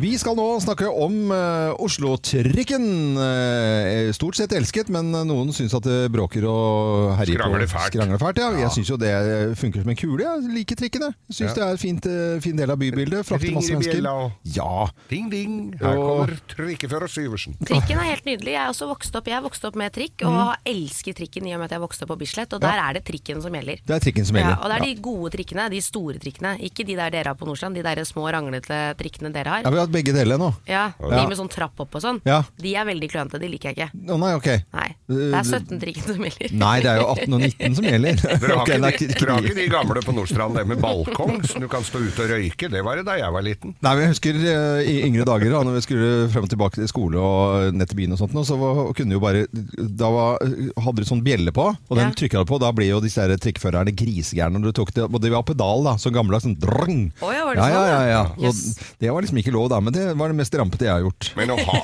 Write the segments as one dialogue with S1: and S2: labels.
S1: Vi skal nå snakke om eh, Oslo-trikken. Eh, stort sett elsket, men eh, noen syns at det bråker og herjer
S2: Skrangler
S1: på.
S2: fælt.
S1: Skrangler fælt. Ja.
S2: Ja.
S1: Jeg syns jo det funker som en kule. Jeg liker trikken. Jeg syns
S2: Ja.
S1: det er en fint, eh, fin del av bybildet. Frakter
S2: Ringer
S1: masse
S2: i
S1: mennesker.
S2: bjella og
S1: Ja.
S2: ding, ding. Her
S1: Og-
S2: kommer trikkefører Syversen.
S3: Trikken er helt nydelig. Jeg er også vokst opp, jeg er vokst opp med trikk, og
S1: Mhm.
S3: har elsket trikken i og med at jeg vokste opp på Bislett. Og der er det trikken som gjelder.
S1: Det er trikken som
S3: Ja,
S1: gjelder.
S3: og det er de gode trikkene, de store trikkene. Ikke de der dere har på Nordstrand, de der små ranglete trikkene dere
S1: Ja,
S3: har.
S1: vi har hatt begge deler nå.
S3: Ja, De
S1: Ja.
S3: med sånn trapp opp og sånn.
S1: Ja.
S3: De er veldig klønete, de liker jeg ikke.
S1: Å nei, ok.
S3: Nei. Det er 17-trikken som gjelder.
S1: Nei, det er jo 18 og 19 som gjelder.
S2: Dere har,
S1: Ok, det er
S2: ikke, de-
S1: ikke-
S2: dere har ikke de gamle på Nordstrand, det med balkong som du kan stå ute og røyke? Det var det da jeg var liten.
S1: Nei, men jeg husker eh, i yngre dager da når vi skulle frem og tilbake til skole og ned til byen og sånt, nå, så var, kunne jo bare Da var, hadde du sånn bjelle på, og den
S3: Ja.
S1: trykka du på. Da ble jo disse her trikkførerne grisegærne når du tok det. Og det var pedal, da. Sånn gammeldags sånn drang.
S3: Å ja, var det
S1: ja, ja,
S3: sånn,
S1: ja, ja.
S3: ja? Yes.
S1: Og det var liksom ikke lov da, men det var det mest rampete jeg har gjort.
S2: Men å ha,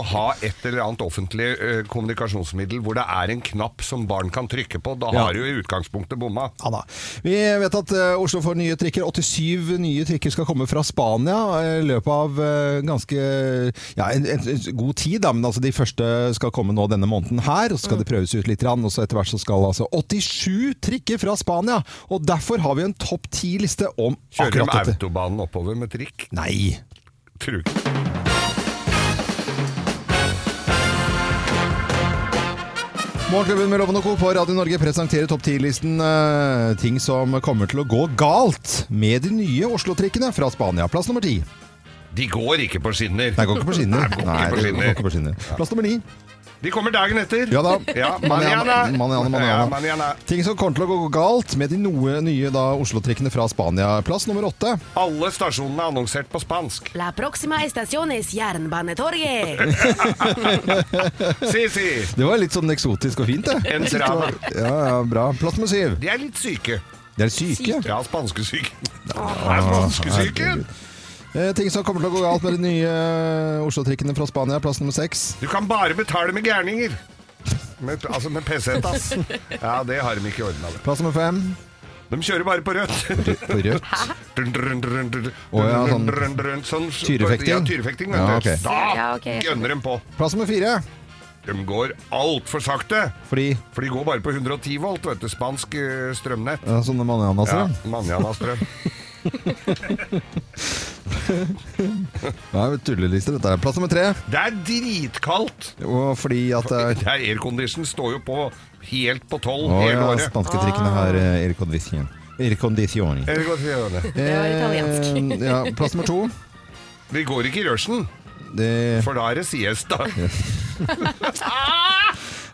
S2: å ha et eller annet offentlig eh, kommunikasjonsmiddel hvor det er en knapp som barn kan trykke på, da
S1: Ja.
S2: har du i utgangspunktet bomma.
S1: Ja da. Vi vet at eh, Oslo får nye trikker. 87 nye trikker skal komme fra Spania eh, i løpet av eh, ganske ja, en, en, en god tid. Da. Men altså, de første skal komme nå denne måneden her, og så
S2: Mm.
S1: skal det prøves ut litt. grann, Og så etter hvert så skal altså 87 trikker fra Spania! Og derfor har vi en topp ti-liste om
S2: Kjører de
S1: akkurat dette.
S2: autobanen oppover med trikk?
S1: Nei.
S2: Tror ikke.
S1: Morgenklubben med Loven og Co. på Radio Norge presenterer topp 10-listen eh, ting som kommer til å gå galt med de nye Oslo-trikkene fra Spania. Plass nummer ti.
S2: De går ikke på skinner.
S1: Nei, går ikke på skinner.
S2: Nei, går ikke
S1: Nei,
S2: på
S1: det
S2: skinner.
S1: går ikke på skinner. Plass nummer ni.
S2: De kommer dagen etter.
S1: Ja da.
S2: Ja,
S1: Manana,
S2: manana.
S1: manana, manana.
S2: Ja, manana.
S1: Ting som kommer til å gå galt med de noe nye da Oslo-trikkene fra Spania. Plass nummer åtte.
S2: Alle stasjonene er annonsert på spansk.
S3: La próxima estación es Jernbanetorget!
S2: Si, si!
S1: Det var litt sånn eksotisk og fint, det.
S2: En strava.
S1: Ja, ja, bra. Plass nummer syv.
S2: De er litt syke.
S1: Det er syke.
S2: Ja, spanskesyken. Er spanskesyken?
S1: Eh, ting som kommer til å gå galt med de nye eh, Oslo-trikkene fra Spania. Plass nummer seks.
S2: Du kan bare betale med gærninger. Med, altså med PC-tass. Ja, det har de ikke ordna.
S1: Plass nummer fem.
S2: De kjører bare på rødt.
S1: På rødt.
S2: Dun, dun, dun, dun,
S1: Å, ja,
S2: dun,
S1: sånn
S2: dun, dun, sånn-
S1: tyrefekting.
S2: Ja, tyrefekting, vet
S1: Ja,
S2: du.
S1: ok.
S3: Ja,
S2: Da
S3: ok, jeg
S2: gønner de på.
S1: Plass nummer fire.
S2: De går altfor sakte.
S1: Fordi
S2: For de går bare på 110 volt, vet du. Spansk eh, strømnett.
S1: ja, Sånne altså.
S2: Ja,
S1: mananaser.
S2: Manjana-strøm.
S1: Det er jo tullelister, dette. her. Plass nummer tre.
S2: Det er dritkaldt!
S1: Og fordi at eh, det er
S2: Det er aircondition står jo på helt på tolv
S1: Å
S2: hele
S1: ja,
S2: året.
S1: spansketrikkene har eh, aircondition. Aircondition.
S2: Er det godt å gjøre det?
S3: Det var italiensk.
S1: Eh, ja, plass nummer to.
S2: Vi går ikke i rushen,
S1: Det,
S2: for da er det siesta.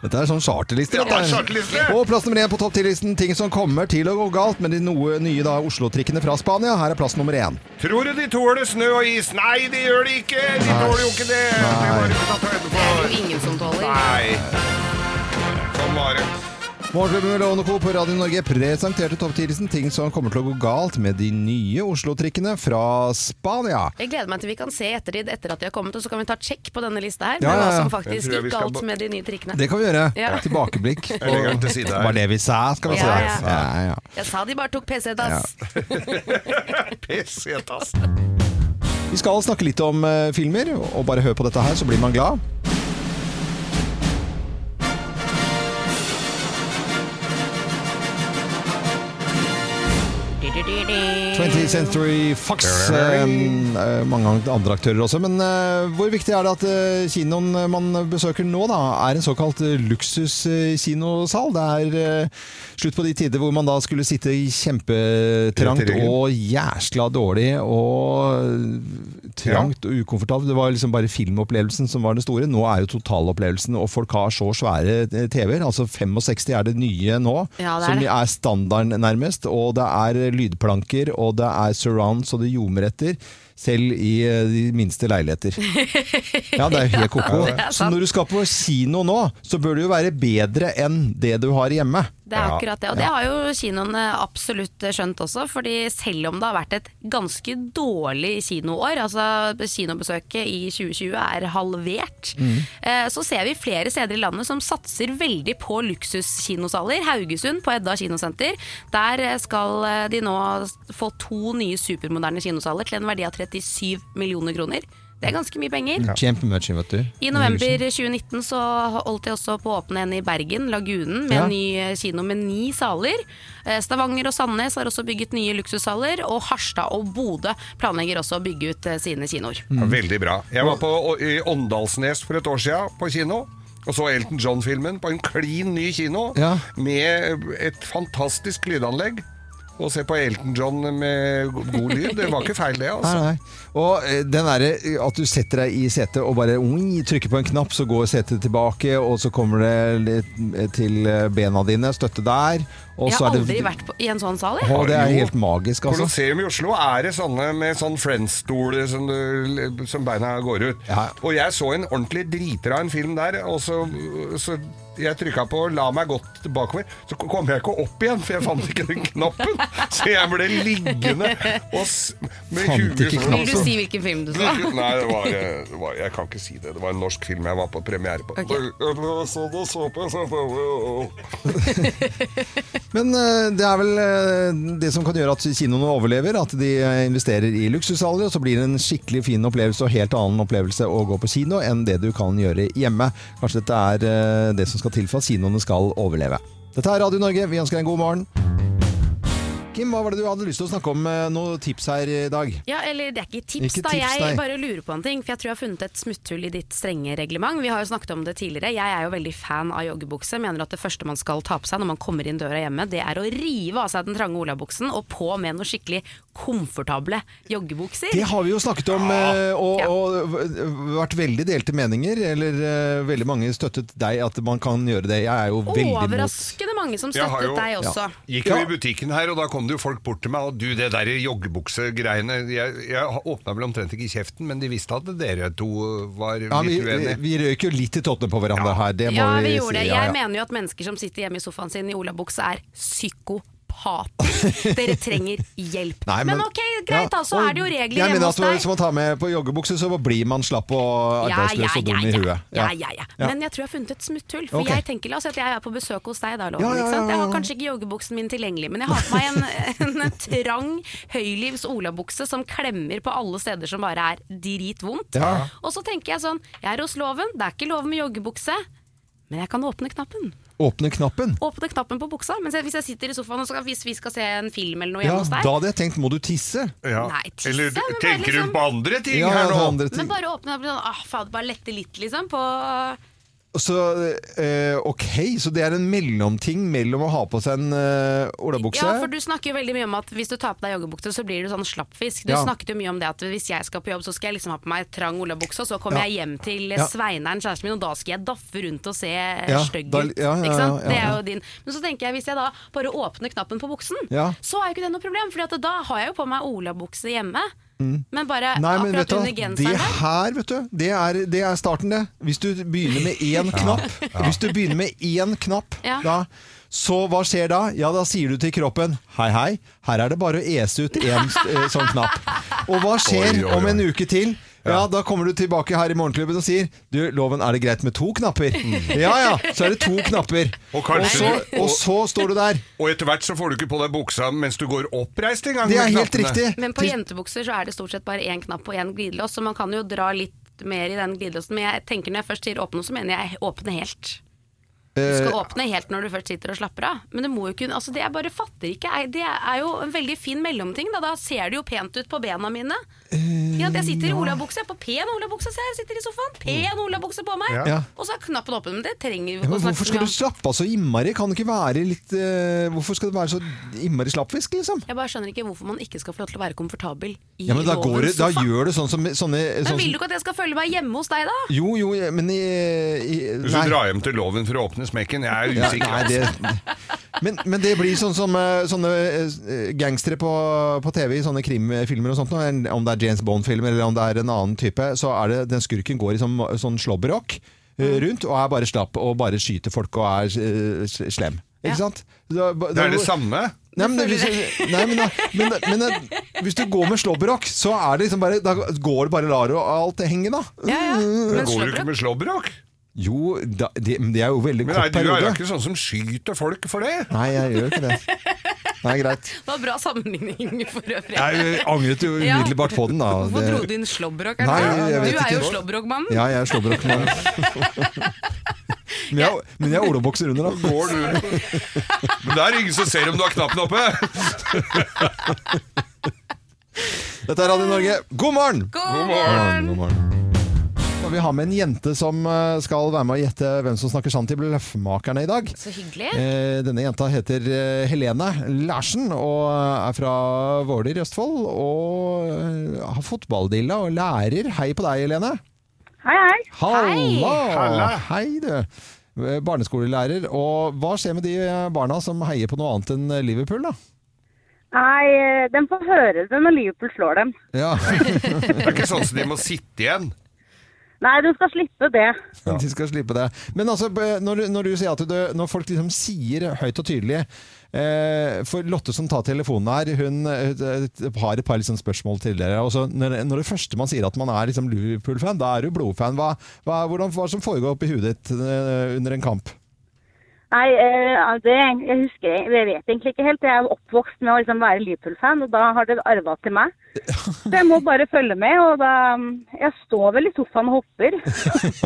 S1: dette er sånn charterliste.
S2: Ja,
S1: dette
S2: det er
S1: her.
S2: charterliste.
S1: Og plass nummer én på topp 10-listen. Ting som kommer til å gå galt med de noe, nye da, Oslo-trikkene fra Spania. Her er plass nummer én.
S2: Tror du de tåler snø og is? Nei, de gjør de ikke! De tåler jo ikke det! Det
S1: Nei.
S2: var ikke tatt høyde
S3: Det er
S2: for.
S3: jo ingen som tåler.
S2: Nei. Sånn var det.
S1: Morgenklubben med Lovende Co. på Radio Norge presenterte topp 10-listen. Ting som kommer til å gå galt med de nye Oslo-trikkene fra Spania.
S3: Jeg gleder meg til vi kan se i ettertid etter at de har kommet, og så kan vi ta sjekk på denne lista
S1: Ja,
S3: her, med
S1: ja,
S3: hva
S1: ja.
S3: som
S2: Jeg
S3: faktisk
S2: tror jeg vi
S3: gikk
S2: skal
S3: galt
S2: ba-
S3: med de nye trikkene.
S1: Det kan vi gjøre.
S3: Ja.
S1: Tilbakeblikk. på-
S2: Jeg legger den til side her.
S1: Var det vi sa, skal vi si.
S3: Ja,
S1: Ja,
S3: ja.
S1: ja, ja.
S3: Jeg sa de bare tok PC-dass.
S2: Piss i et tass.
S1: Vi skal snakke litt om eh, filmer, og bare hør på dette her, så blir man glad.
S3: Du-du-du-du.
S1: 20th Century Fox. eh, eh, mange andre aktører også. Men eh, hvor viktig er det at eh, kinoen man besøker nå, da, er en såkalt eh, luksuskinosal? Det er eh, slutt på de tider hvor man da skulle sitte i
S2: Rett
S1: kjempetrangt
S2: i ryggen.
S1: og jæsla dårlig og trangt og ukomfortabelt. Det var liksom bare filmopplevelsen som var det store. Nå er jo totalopplevelsen, og folk har så svære eh, TV-er. Altså 65 er det nye nå,
S3: Ja, det er
S1: som
S3: det.
S1: er standarden nærmest. Og det er lydplanker, og det er surrounds, og det ljomer etter. Selv i eh, de minste leiligheter. Ja, det er jo helt koko.
S3: det er
S1: Så
S3: sant.
S1: når du skal på kino nå, så bør det jo være bedre enn det du har hjemme.
S3: Det er
S2: Ja,
S3: akkurat det. Og det har jo kinoene absolutt skjønt også. fordi selv om det har vært et ganske dårlig kinoår, altså kinobesøket i 2020 er halvert,
S2: Mm.
S3: eh, så ser vi flere steder i landet som satser veldig på luksuskinosaler. Haugesund på Edda kinosenter. Der eh, skal eh, de nå få to nye supermoderne kinosaler til en verdi av 37 millioner kroner. Det er ganske mye penger.
S1: Kjempemye, vet du.
S3: I november 2019 så holdt jeg også på å åpne en i Bergen, Lagunen, med
S1: Ja.
S3: en ny eh, kino med ni saler. Eh, Stavanger og Sandnes har også bygget nye luksussaler, og Harstad og Bodø planlegger også å bygge ut eh, sine kinoer.
S2: Ja, Veldig bra. Jeg var på, i Åndalsnes for et år siden på kino. Og så Elton John-filmen på en klin ny kino
S1: Ja.
S2: med et fantastisk lydanlegg. Å se på Elton John med god lyd, det var ikke feil det, altså.
S1: Nei, nei. Og eh, den derre eh, at du setter deg i setet og bare oi, trykker på en knapp, så går setet tilbake, og så kommer det litt til eh, bena dine, støtte der, og
S3: Jeg
S1: så
S3: har
S1: er det
S3: aldri vært på, i en sånn sal, jeg.
S1: Å, det er
S2: Jo.
S1: helt magisk, altså.
S2: Colosseum i Oslo er det sånne med sånn Friends-stoler som, du- som beina går ut.
S1: Ja.
S2: Og jeg så en ordentlig driter av en film der, og så, så jeg trykka på 'la meg godt bakover', så kom jeg ikke opp igjen, for jeg fant ikke den knappen. Så jeg ble liggende og s med
S1: Fant
S2: huet
S1: ikke
S2: sånn.
S1: knappen.
S3: Vil du si hvilken film du så?
S2: Nei, det var, det var, jeg kan ikke si det. Det var en norsk film jeg var på premiere på. Så det så på, så på.
S1: Men eh, det er vel eh, det som kan gjøre at kinoene overlever, at de eh, investerer i luksussalger, og så blir det en skikkelig fin opplevelse og helt annen opplevelse å gå på kino enn det du kan gjøre hjemme. Kanskje dette er eh, det som skal til for at kinoene skal overleve. Dette er Radio Norge, vi ønsker deg en god morgen. Kim, hva var det du hadde lyst til å snakke om? eh, Noen tips her i dag?
S3: Ja, eller det er ikke tips,
S1: Ikke
S3: da.
S1: tips, nei.
S3: jeg bare lurer på en ting, for jeg tror jeg har funnet et smutthull i ditt strenge reglement. Vi har jo snakket om det tidligere. Jeg er jo veldig fan av joggebukse. Mener at det første man skal ta på seg når man kommer inn døra hjemme, det er å rive av seg den trange olabuksen og på med noen skikkelig komfortable joggebukser.
S1: Det har vi jo snakket om, eh, og,
S3: Ja.
S1: og v- vært veldig delte meninger. Eller eh, veldig mange støttet deg at man kan gjøre det. Jeg er jo veldig imot.
S3: Overraskende mange som
S2: Jeg har
S3: støttet
S2: jo-
S3: deg også.
S2: Gikk
S1: Ja.
S2: jo i butikken her, og da kom det jo folk bort til meg og du, det der joggebuksegreiene Jeg, jeg åpna vel omtrent ikke kjeften, men de visste at dere to var
S1: Ja, vi,
S2: litt uenige.
S1: vi røyk jo litt i tottene på hverandre her. Det må
S3: Ja, vi
S1: vi,
S3: gjorde det.
S1: si.
S3: Jeg
S1: Ja, ja.
S3: mener jo at mennesker som sitter hjemme i sofaen sin i olabukse er psykopater. Dere trenger hjelp.
S1: Nei,
S3: men, ok, greit da, så
S1: og
S3: er det jo regler
S1: jeg mener
S3: hjemme
S1: at
S3: hos deg.
S1: Hvis man tar med på joggebukse, så blir man slapp og arbeidsløs og dum i huet.
S3: Ja, ja, ja. Men jeg tror jeg har funnet et smutthull. For
S1: Ok.
S3: jeg tenker, la oss si at jeg er på besøk hos deg da, Loven.
S1: Ja, ja,
S3: Ikke
S1: ja,
S3: sant? Jeg
S1: ja,
S3: har
S1: ja.
S3: kanskje ikke joggebuksen min tilgjengelig, men jeg har på meg en, en trang høylivs olabukse som klemmer på alle steder som bare er dritvondt.
S1: Ja.
S3: Og så tenker jeg sånn, jeg er hos Loven, det er ikke lov med joggebukse. Men jeg kan åpne knappen.
S1: Åpne knappen.
S3: Åpne knappen på buksa. Mens jeg, hvis jeg sitter i sofaen og skal, hvis vi skal se en film eller noe
S1: Ja,
S3: hjemme hos
S1: da
S3: deg,
S1: hadde jeg tenkt må du tisse?
S2: Ja.
S3: Nei, tisse,
S2: Eller
S3: men bare
S2: tenker
S3: liksom-
S2: du på andre ting
S1: Ja,
S2: her
S1: det er
S2: nå?
S1: andre ting.
S3: men bare åpne knappen sånn, ah faen, bare lette litt liksom på
S1: Så eh, ok, så det er en mellomting mellom å ha på seg en eh, olabukse
S3: Ja, for du snakker jo veldig mye om at hvis du tar på deg joggebukse, så blir du sånn slappfisk. Du
S1: Ja.
S3: snakket jo mye om det at hvis jeg skal på jobb, så skal jeg liksom ha på meg trang olabukse, og så kommer
S1: Ja.
S3: jeg hjem til
S1: Ja.
S3: Sveineren, kjæresten min, og da skal jeg daffe rundt og se
S1: Ja,
S3: ja. stygg
S1: da-
S3: ut.
S1: ja, ja,
S3: ikke sant?
S1: ja, ja,
S3: Det er
S1: ja.
S3: jo din. Men så tenker jeg, hvis jeg da bare åpner knappen på buksen,
S1: Ja.
S3: så er jo ikke det noe problem, for da har jeg jo på meg olabukse hjemme. Men bare
S1: Mm. Nei, men vet
S3: akkurat
S1: du, hva,
S3: under
S1: det
S3: genseren der.
S1: her, vet du, det er, det er starten, det. Hvis du begynner med én knapp, hvis du begynner med én knapp,
S3: Ja.
S1: da, så hva skjer da? Ja, da sier du til kroppen hei, hei, her er det bare å ese ut én eh, sånn knapp. Og hva skjer
S2: Oi, oi, oi.
S1: om en uke til? Ja, Da kommer du tilbake her i Morgenklubben og sier Du, loven, er det greit med to knapper? Ja ja, så er det to knapper.
S2: Mm. Og kanskje
S1: så,
S2: du-
S1: og så står du der.
S2: Og etter hvert så får du ikke på deg buksa mens du går oppreist engang.
S1: Det
S2: med
S1: er helt
S2: knappene.
S1: riktig.
S3: Men på
S1: Til-
S3: jentebukser så er det stort sett bare én knapp og én glidelås, så man kan jo dra litt mer i den glidelåsen. Men jeg tenker når jeg først sier åpne, så mener jeg åpne helt. Du
S1: Eh,
S3: skal åpne helt når du først sitter og slapper av. Men det må jo kunne, altså det jeg bare fatter ikke, er, det er jo en veldig fin mellomting. Da, da ser det jo pent ut på bena mine.
S1: Eh,
S3: Ikke sant? jeg sitter i olabukse, på pen olabukse, ser jeg, jeg sitter i sofaen. Pen olabukse på meg.
S1: Oh. Ja.
S3: Og så er knappen åpen. Men det trenger vi
S1: Ja,
S3: ikke
S1: men
S3: å
S1: hvorfor
S3: snakke så
S1: skal
S3: mye
S1: du
S3: om.
S1: slappe av så innmari? Kan det ikke være litt eh, Hvorfor skal det være så innmari slappfisk, liksom?
S3: Jeg bare skjønner ikke hvorfor man ikke skal få lov til å være komfortabel i
S1: Ja, men da, går det,
S3: lovens
S1: da
S3: sofa.
S1: gjør det sånn som sånne
S3: Men
S1: sånn,
S3: vil du
S1: som-
S3: ikke at jeg skal føle meg hjemme hos deg, da?
S1: Jo, jo, men i, i
S2: Hvis du drar hjem til loven for å åpne smekken, jeg er
S1: Ja,
S2: usikker.
S1: nei, det, men, men det blir sånn som eh, sånne eh, gangstere på, på TV i sånne krimfilmer og sånt, nå, om det er James Bond-filmer eller om det er en annen type, så er det den skurken går i sånn,
S3: Mm.
S1: sånn slåbrok eh, rundt og er bare slapp og bare skyter folk og er eh, s- slem. Ikke sant? Da- da-
S2: Det er det samme.
S1: Nei, men, hvis, nei, men, men, men hvis du går med slåbrok, så er det liksom bare Da går det bare lar og alt henge, da.
S3: Ja, ja. Men
S2: Det går jo
S3: slåbrok?
S2: ikke med slåbrok.
S1: Jo, da, det, men det er jo veldig
S2: Men nei,
S1: kort
S2: du er jo
S1: periode.
S2: ikke sånn som skyter folk for det.
S1: Nei, jeg gjør ikke det. Nei, greit.
S3: Det var bra sammenligning for øvrig.
S1: Jeg eh, angret jo
S3: Ja.
S1: umiddelbart på den, da.
S3: Hvorfor dro du inn slåbrok? er det
S1: Nei,
S3: det?
S1: jeg vet
S3: du er jo
S1: ikke.
S3: slåbrokmannen.
S1: Ja, jeg er slåbrokmann. Men jeg, men jeg er olabokser under, da.
S2: Går du Men det er ingen som ser om du har knappen oppe.
S1: Dette er Radio Norge. God morgen!
S3: God
S1: morgen,
S3: morgen!
S1: god morgen. Og vi har med en jente som eh, skal være med å gjette hvem som snakker sant i Bløffmakerne i dag.
S3: Så hyggelig.
S1: Eh, Denne jenta heter eh, Helene Larsen og er fra Våler i Østfold. Og eh, har fotballdilla og lærer. Hei på deg, Helene.
S4: Hei, hei.
S1: Halla!
S2: Halla.
S1: Hei, du. Eh, Barneskolelærer. Og hva skjer med de eh, barna som heier på noe annet enn Liverpool, da?
S4: Nei, eh, de får høre det når Liverpool slår dem.
S1: Ja,
S2: Det er ikke sånn som de må sitte igjen.
S4: Nei, du skal slippe det.
S1: De skal slippe det. Men altså, b- når, du- når du sier at du, når folk liksom sier høyt og tydelig eh, For Lotte som tar telefonen her, hun eh, har et par liksom spørsmål til dere. Og så når, når det første man sier at man er liksom Liverpool-fan, da er du blodfan. Hva, hva, hvordan, hva som foregår oppi huet ditt eh, under en kamp?
S4: Nei, eh, ja, det jeg husker jeg, jeg vet egentlig ikke helt. Jeg er oppvokst med å liksom være Liverpool-fan, og da har det arva til meg. Så jeg må bare følge med, og da Jeg står vel i sofaen og hopper.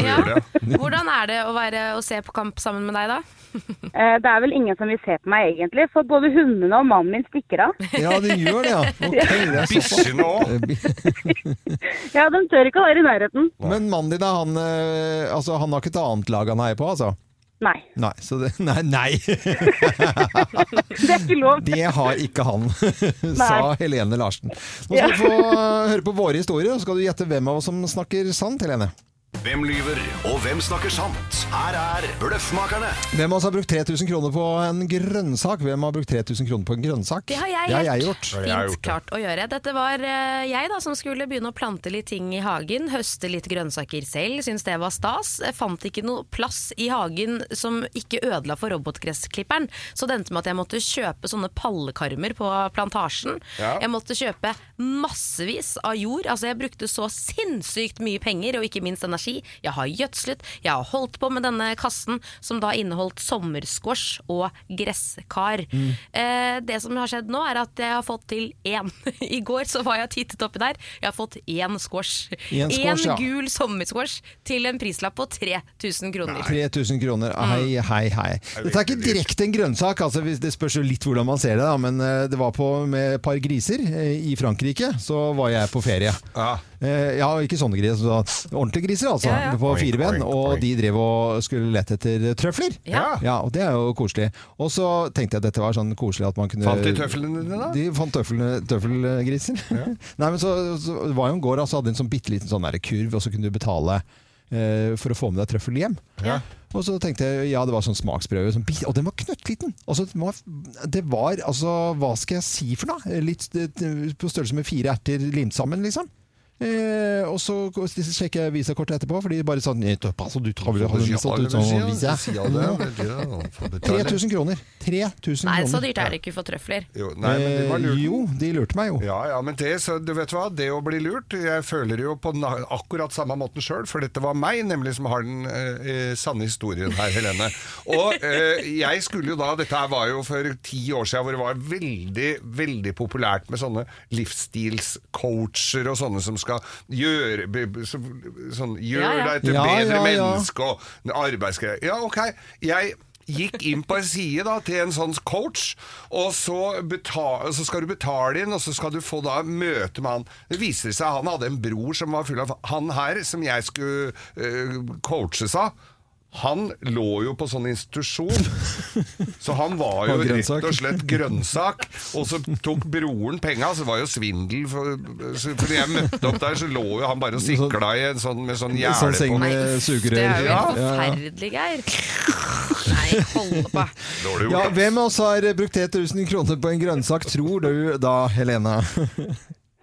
S3: Ja.
S2: gjør
S3: Hvordan er det å, være, å se på kamp sammen med deg, da?
S4: Eh, det er vel ingen som vil se på meg egentlig, for både hundene og mannen min stikker av.
S1: Ja, de gjør det, ja. Ok, det er såpass.
S2: Bikkjene òg.
S1: Eh, bi-
S4: Ja, de tør ikke å være i nærheten.
S1: Men mannen din, da, han, eh, altså, han har ikke et annet lag han heier på, altså?
S4: Nei.
S1: Nei, så det, nei, nei.
S4: Det er ikke lov.
S1: Det har ikke han, sa Helene Larsen. Nå skal du få høre på våre historier, og så skal du gjette hvem av oss som snakker sant, Helene.
S5: Hvem lyver, og hvem snakker sant? Her er Bløffmakerne.
S1: Hvem av oss har brukt 3000 kroner på en grønnsak? Hvem har brukt 3000 kroner på en grønnsak?
S3: Det har jeg
S1: det har
S3: gjort.
S1: jeg gjort.
S2: jeg har gjort
S3: Fint klart å gjøre. Dette var eh, jeg da som skulle begynne å plante litt ting i hagen. Høste litt grønnsaker selv, syntes det var stas. Jeg fant ikke noe plass i hagen som ikke ødela for robotgressklipperen. Så det endte med at jeg måtte kjøpe sånne pallekarmer på plantasjen.
S2: Ja.
S3: Jeg måtte kjøpe massevis av jord. Altså jeg brukte så sinnssykt mye penger, og ikke minst energi. Jeg har gjødslet, jeg har holdt på med denne kassen som da inneholdt sommerskors og gresskar.
S1: Mm.
S3: Eh, det som har skjedd nå er at jeg har fått til én. I går så var jeg tittet oppi der, jeg har fått én squash.
S1: Én squash,
S3: Én
S1: ja.
S3: gul sommersquash til en prislapp på 3000 kroner.
S1: 3000 kroner.
S3: Mm.
S1: Hei, hei, hei. Dette er ikke direkte en grønnsak, altså hvis- det spørs jo litt hvordan man ser det, da, men eh, det var på med et par griser eh, i Frankrike, så var jeg på ferie.
S2: Ja.
S1: Eh, Ja, ikke sånne griser, så ordentlige griser altså,
S3: Ja, ja.
S1: på
S2: Oink,
S1: fire ben,
S2: oink,
S1: og
S2: oink.
S1: de drev og skulle lette etter trøfler.
S3: Ja.
S1: Ja, og det er jo koselig. Og så tenkte jeg at dette var sånn koselig at man kunne
S2: Fant de tøflene dine, da?
S1: De fant tøflene- tøffelgriser. Nei, men så, så det var jo en gård, altså hadde en sånn bitte liten sånn der kurv, og så kunne du betale eh, for å få med deg trøffel hjem.
S2: Ja.
S1: Og så tenkte jeg, ja, det var sånn smaksprøve, sånn, bit- og den var knøttliten. Altså, det var, det var, altså, hva skal jeg si for noe? Litt eh, på størrelse med fire erter limt sammen, liksom. Eh, og så sjekker jeg visakortet etterpå, for de bare sånn, «Nei, altså, du tar vel har du mistet ut sånn visa? 3000 kroner. 3000
S3: Nei, så
S1: kroner.
S3: dyrt er det ikke for trøfler.
S2: Jo, nei, men de var
S1: Eh,
S2: lurt.
S1: jo, de lurte meg jo.
S2: Ja, ja, men det, så, du vet hva, det å bli lurt Jeg føler jo på na akkurat samme måten sjøl, for dette var meg nemlig som har den eh, eh, sanne historien her, Helene. Og eh, jeg skulle jo da Dette her var jo for ti år siden hvor det var veldig, veldig populært med sånne livsstilscoacher og sånne som skal gjøre be- be- så, sånn, Gjør
S3: Ja, ja.
S2: deg til
S1: Ja,
S2: bedre
S1: ja, ja.
S2: menneske og arbeidsgreier. Ja, ok. Jeg gikk inn på en side da, til en sånn coach, og så, beta- så skal du betale inn, og så skal du få da møte med han. Det viser seg han hadde en bror som var full av Han her, som jeg skulle eh, coaches av, han lå jo på sånn institusjon. Så han var
S1: Og
S2: jo rett
S1: grønnsak.
S2: og slett grønnsak. Og så tok broren penga, så det var jo svindel. For, så fordi jeg møtte opp der, så lå jo han bare og sikla i en sånn, med sånn
S1: Sånn
S2: gjerde
S1: seng
S2: på.
S1: med
S3: Nei, uff,
S1: sugerør.
S3: Det er jo
S1: Ja,
S3: helt
S1: ja, ja.
S3: forferdelig, Geir. Nei, hold på.
S2: Dårlig
S1: Ja,
S2: gjort.
S1: hvem av oss har brukt 3000 kroner på en grønnsak, tror du da, Helena?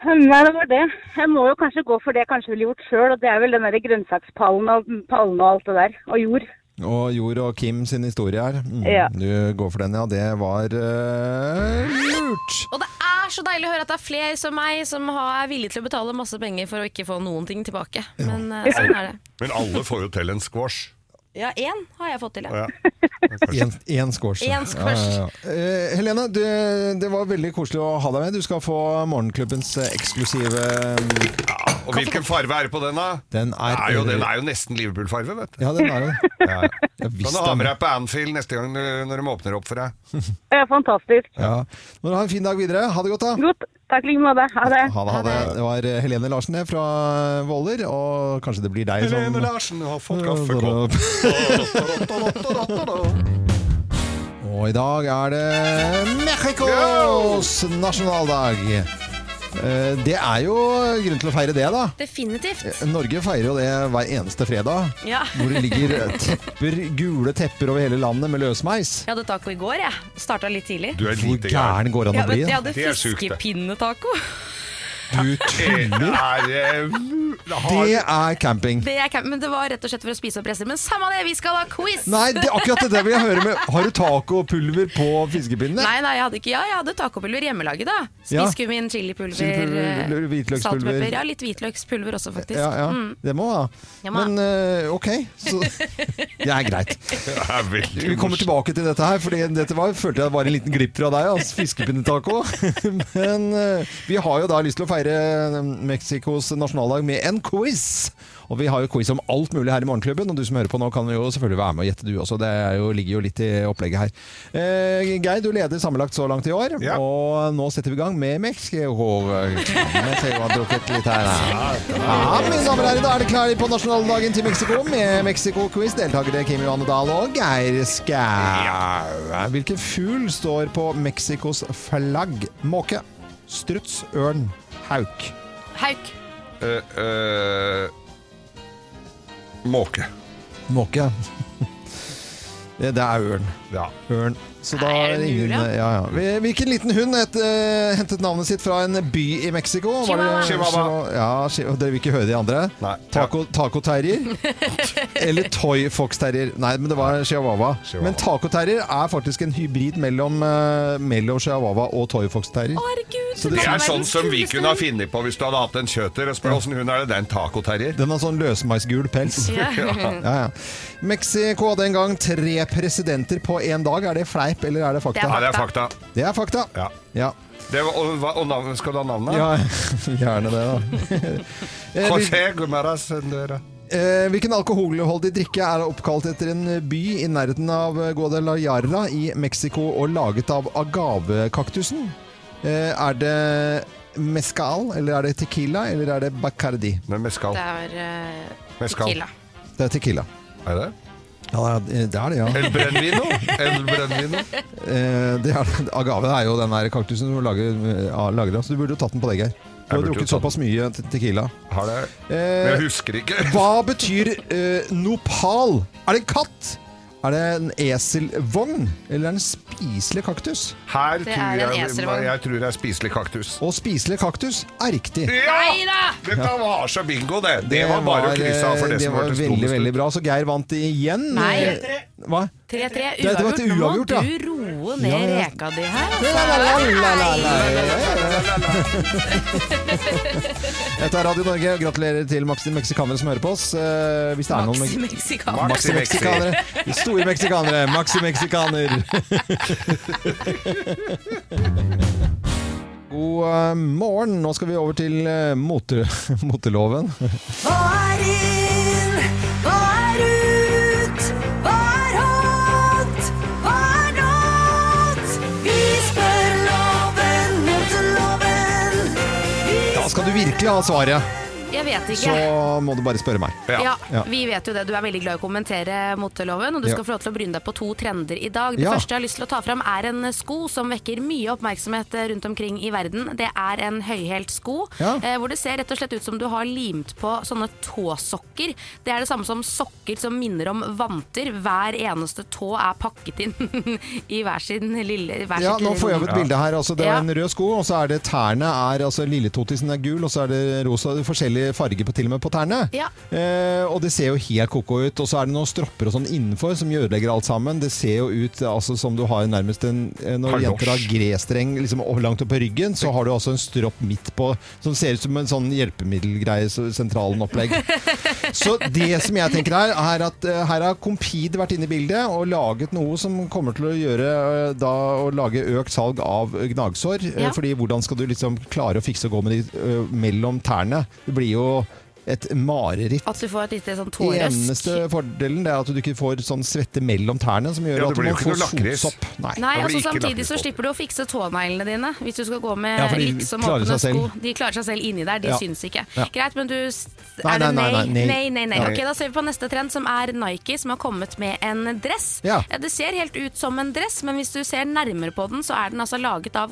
S4: Nei, det var det. Jeg må jo kanskje gå for det jeg kanskje ville gjort sjøl, og det er vel den der grønnsakspallen og pallene og alt det der. Og jord.
S1: Og Jord og Kim sin historie her. Mm,
S4: Ja.
S1: Du går for den, ja. Det var eh, lurt.
S3: Og det er så deilig å høre at det er flere som meg som har- er villige til å betale masse penger for å ikke få noen ting tilbake. Men eh, sånn er det.
S2: Men alle får jo til en squash.
S3: Ja, én har jeg fått til, ja.
S2: Ja.
S1: Én squash. ja.
S3: En squash.
S1: Eh, Helene, du, det var veldig koselig å ha deg med. Du skal få morgenklubbens eh, eksklusive mm,
S2: Og hvilken farve er det på den, da?
S1: Den er-
S2: er jo, den er jo nesten Liverpool-farve, vet du.
S1: Ja, den er jo det.
S2: Ja.
S1: Jeg
S2: Kan du
S1: visste
S2: ha med
S1: det.
S2: deg på Anfield neste gang du- når de åpner opp for deg?
S4: Ja, fantastisk.
S1: Ja. Må du ha en fin dag videre. Ha det godt, da.
S4: Godt. Takk i like måte. Ha det.
S1: Ha det, ha det. Det var eh, Helene Larsen det, fra Våler, og kanskje det blir deg som
S2: Helene Larsen har fått kaffekopp.
S1: Og i dag er det Mexicos nasjonaldag. Eh, Det er jo grunn til å feire det, da.
S3: Definitivt.
S1: Norge feirer jo det hver eneste fredag.
S3: Ja.
S1: Hvor det ligger tepper, gule tepper over hele landet med løsmeis.
S3: Jeg hadde taco i går, jeg. Starta litt tidlig.
S2: Du er
S1: Hvor
S2: lite gæren.
S1: gæren går det an
S3: Ja,
S1: å
S3: men
S1: bli?
S3: jeg
S1: da?
S3: hadde
S2: Det er sjukt, det.
S3: fiskepinnetaco.
S1: Du
S2: Det
S1: tuller!
S2: er eh, det har-
S1: Det er camping.
S3: Det er camp- men det var rett og slett for å spise opp rester. Men samme det, vi skal ha quiz!
S1: Nei, det, akkurat det vil jeg høre med. Har du tacopulver på fiskepinnene?
S3: Nei, nei, jeg hadde ikke Ja, jeg hadde tacopulver hjemmelaget, da.
S1: Ja.
S3: Spiskummin, chilipulver,
S1: Chilipulver, hvitløkspulver.
S3: eh, saltpepper. Ja, litt hvitløkspulver også, faktisk.
S1: Ja, ja.
S3: Mm.
S1: Det må da.
S3: Det må
S1: Men eh, ok, så Det er greit.
S2: det er veldig
S1: Vi kommer tilbake til dette her, for dette var, følte jeg var en liten glipp fra deg. Altså, Fiskepinne-taco. Men eh, vi har jo da lyst til å feire eh, Mexicos nasjonaldag med en quiz. Og vi har jo quiz om alt mulig her i Morgenklubben, og du som hører på nå kan jo selvfølgelig være med og gjette du også. Det er jo, ligger jo litt i opplegget her. Eh, Geir, du leder sammenlagt så langt i år,
S2: Ja.
S1: og nå setter vi i gang med Mexico. Jeg ser jo har drukket litt her. Ja, mine damer og herrer, da er det klare på nasjonaldagen til Mexico med Mexico-quiz. Deltakere Kim Johanne Dahl og Geir Skau. Hvilken fugl står på Mexicos flagg? Måke, struts, ørn, hauk.
S3: Hauk.
S2: Eh, eh, Måke.
S1: Måke. Det det er ørn.
S2: Ja.
S1: Ørn. Så da
S3: Nei,
S1: er
S3: er det
S1: ingen,
S3: mulig, ja?
S1: ja, ja. Hvilken liten hund het, eh, hentet navnet sitt fra en by i Mexico? Var det-
S3: Chihuahua.
S2: Chihuahua.
S1: Ja, chi- og dere vil ikke høre de andre?
S2: Nei.
S1: Taco- Tacoterrier? Eller Toy Fox-terrier? Nei, men det var chihuahua.
S2: Chihuahua.
S1: Men tacoterrier er faktisk en hybrid mellom, eh, mellom chihuahua og Toy Fox-terrier.
S3: Å, herregud.
S1: Så
S3: det
S2: Det
S3: var
S2: er sånn
S3: verdens
S2: som vi
S3: kuleste
S2: kunne ha funnet på hvis du hadde hatt en kjøter. Og spør åssen hun er det. Det er en tacoterrier.
S1: Den har sånn løsmeisgul pels.
S3: Ja.
S1: Ja, ja. Mexico hadde en gang tre presidenter på én dag. Er det fleip, eller er det fakta?
S3: Det er
S2: Ja, det er fakta.
S1: Det er fakta.
S2: Ja.
S1: ja.
S2: Det var, og, hva- og navnet, skal du ha navnet?
S1: Ja, gjerne det, da. Eh, hvil-
S2: José Gumaras Endera.
S1: eh, Hvilken alkoholholdig drikke er oppkalt etter en by i nærheten av Guadalajara i Mexico og laget av agavekaktusen? Eh, Er det mescal, eller er det tequila, eller er det bacardi?
S2: Med mescal.
S3: Det er eh,
S2: Mescal.
S3: tequila.
S1: Det er tequila.
S2: Er det?
S1: Ja, det er det, ja.
S2: El Brenvino. El Brenvino.
S1: Eh, det er, agave er jo den der kaktusen som lager, ja, lager det, så du burde jo tatt den på deg, Geir. Du har
S2: burde jo
S1: drukket
S2: tatt den.
S1: såpass mye te- tequila.
S2: Har det Men
S1: Eh,
S2: jeg husker ikke.
S1: Hva betyr eh, nopal? Er det en katt? Er det en eselvogn? Eller er det en spiselig kaktus?
S2: Her
S3: Det
S2: tror
S3: er en
S2: jeg,
S3: eselvogn.
S2: jeg tror det er spiselig kaktus.
S1: Og spiselig kaktus er riktig.
S3: Nei da!
S2: Dette var så bingo, det. Det, var bare å
S1: var,
S2: krysse av for det,
S1: eh,
S2: som
S1: var
S2: hørtes
S1: veldig,
S2: dummest
S1: veldig
S2: ut.
S1: bra. Så Geir vant igjen.
S3: Nei.
S1: Hva?
S3: 3-3.
S1: Det- det var
S3: Uavgjort.
S1: et
S3: Nå må
S1: uavgjort, ja.
S3: du roe ned
S1: Ja, ja.
S3: reka di her. altså.
S1: La, la, la, la, la, la.
S2: Lalalala.
S1: Dette er Radio Norge. Gratulerer til Maxi meksikanere som hører på oss. Eh, hvis det er noen
S3: Maxi
S1: me-
S3: Mexican.
S2: Max-
S1: Maxi meksikanere. Store meksikanere. Maxi meksikaner. God eh, morgen. Nå skal vi over til eh, mote, moteloven.
S6: Hva er inn? Hva er ut? Hva er hot? Hva er not? Vi spør loven mot loven. Vi
S1: Da skal du virkelig ha svaret,
S3: Jeg vet ikke.
S1: så må du bare spørre meg.
S2: Ja.
S3: Ja,
S1: Ja.
S3: vi vet jo det. Du er veldig glad i å kommentere moteloven, og du
S1: Ja.
S3: skal få lov til å bryne deg på to trender i dag. Det
S1: Ja.
S3: første jeg har lyst til å ta fram er en sko som vekker mye oppmerksomhet eh, rundt omkring i verden. Det er en høyhælt sko,
S1: Ja.
S3: eh, hvor det ser rett og slett ut som du har limt på sånne tåsokker. Det er det samme som sokker som minner om vanter. Hver eneste tå er pakket inn i hver sin lille hver
S1: Ja,
S3: sitt
S1: nå
S3: lille
S1: får jeg
S3: rom.
S1: opp et bilde her. Altså, det er
S3: Ja.
S1: en rød sko, og så er det tærne er altså Lilletotisen er gul, og så er det rosa. Det er Forskjellig forskjellige farger på, til og med på tærne.
S3: Ja.
S1: Eh, og det ser jo helt koko ut. Og så er det noen stropper og sånn innenfor som ødelegger alt sammen. Det ser jo ut eh, altså, som du har nærmest en eh, Når
S2: Kalosj.
S1: jenter har grestreng liksom, og langt opp på ryggen, så har du altså en stropp midt på som ser ut som en sånn hjelpemiddelgreie, så- sentralen-opplegg. Så det som jeg tenker her, er at eh, her har Compid vært inne i bildet og laget noe som kommer til å gjøre eh, da å lage økt salg av eh, gnagsår. Eh,
S3: Ja.
S1: Fordi hvordan skal du liksom klare å fikse og gå med de eh, mellom tærne? Det blir jo et mareritt.
S3: At du får et lite sånn tårøsk.
S1: Eneste fordelen det er at du ikke får sånn svette mellom tærne, som gjør
S2: Ja, det
S1: at du må
S2: blir jo
S1: få
S2: ikke noe lakris.
S1: sotsopp. Nei.
S2: Da
S3: Nei,
S2: blir
S3: altså
S2: det ikke
S3: Samtidig så
S2: lakrisåpe.
S3: slipper du å fikse tåneglene dine hvis du skal gå med
S1: Ja, for de
S3: litt som
S1: klarer
S3: åpne
S1: seg selv.
S3: sko. De klarer seg selv inni der, de
S1: Ja.
S3: syns ikke.
S1: Ja.
S3: Greit, men du s-
S1: Nei,
S3: Er det
S1: nei,
S3: nei?
S1: nei, nei, nei.
S3: Nei, nei, nei.
S1: Nei.
S3: Ok, Da ser vi på neste trend, som er Nike, som har kommet med en dress.
S1: Ja.
S3: Det ser helt ut som en dress, men hvis du ser nærmere på den, så er den altså laget av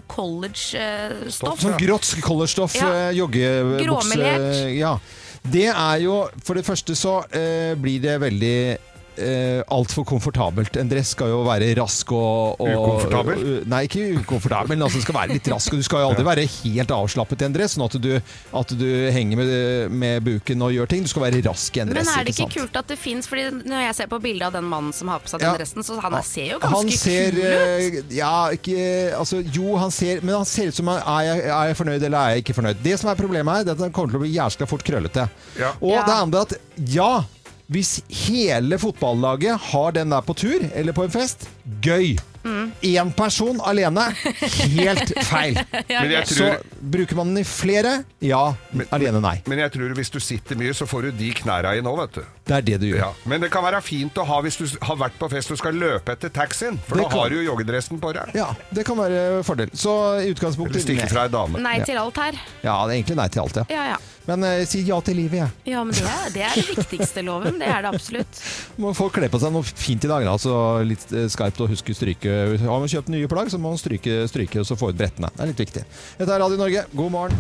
S3: eh, college-stoff.
S1: Sånn grått colorstoff,
S3: Ja.
S1: eh, joggebukse
S3: Gråmelert.
S1: eh, Ja. Det er jo For det første så eh, blir det veldig Uh, Altfor komfortabelt. En dress skal jo være rask og, og
S2: Ukomfortabel?
S1: Nei, ikke ukomfortabel, men altså den skal være litt rask. Og du skal jo aldri være helt avslappet i en dress, sånn at du, at du henger med, med buken og gjør ting. Du skal være rask i en dress.
S3: Men er det ikke
S1: sant?
S3: kult at det fins? Fordi når jeg ser på bildet av den mannen som har på seg
S1: Ja.
S3: den dressen, så han ser jo
S1: Han
S3: ganske
S1: ser,
S3: kul ut.
S1: eh, Ja, ikke Altså, jo, han ser Men han ser ut som han- er jeg, er jeg fornøyd eller er jeg ikke fornøyd. Det som er problemet her, det er at han kommer til å bli jæskla fort krøllete.
S2: Ja.
S1: Og
S3: Ja.
S1: det andre er at ja, hvis hele fotballaget har den der på tur eller på en fest, gøy.
S3: Mm.
S1: Én person alene, helt feil.
S2: Men jeg
S1: Så
S2: tror,
S1: bruker man den i flere, ja. Alene, nei.
S2: men jeg tror hvis du sitter mye, så får du de knæra i nå, vet du.
S1: Det er det du gjør.
S2: Ja. Men det kan være fint å ha hvis du har vært på fest og skal løpe etter taxien, for
S1: Det
S2: da
S1: kan-
S2: har du jo joggedressen på deg.
S1: Ja, det kan være fordel. Så i utgangspunktet
S2: Eller stikke fra ei dame.
S3: Nei til alt her.
S1: Ja, det er egentlig nei til alt, ja.
S3: Ja, ja.
S1: Men eh, si ja til livet, jeg.
S3: Ja, men det er det, er det viktigste, loven. Det er det absolutt.
S1: Må folk kle på seg noe fint i dag, da. Så litt eh, skarpt og huske stryke. Har man kjøpt nye plagg, så må man stryke, stryke og så få ut brettene. Det er litt viktig. Dette er Radio Norge, god morgen.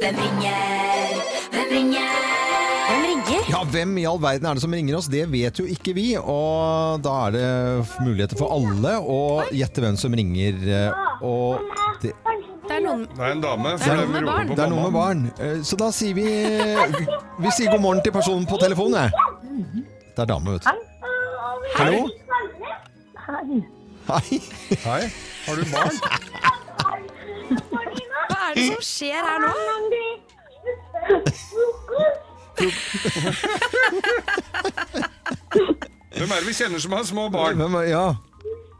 S6: Hvem ringer? Hvem ringer? Hvem ringer?
S1: Ja, hvem i all verden er det som ringer oss? Det vet jo ikke vi. Og da er det f- muligheter for alle å gjette hvem som ringer. eh, Og det,
S3: Det er noen
S2: Det er en dame.
S3: Det er
S2: for
S3: noe med
S2: de roper
S3: barn.
S2: på
S1: det er noe
S2: mamma.
S1: med barn. Eh, Så da sier vi Vi sier god morgen til personen på telefonen, jeg. Det er dame, vet du. Hallo? Hei.
S2: Hei, har du barn?
S3: Hva er det som skjer her nå?
S2: Hvem er det vi kjenner som har små barn?
S1: Hvem er, ja.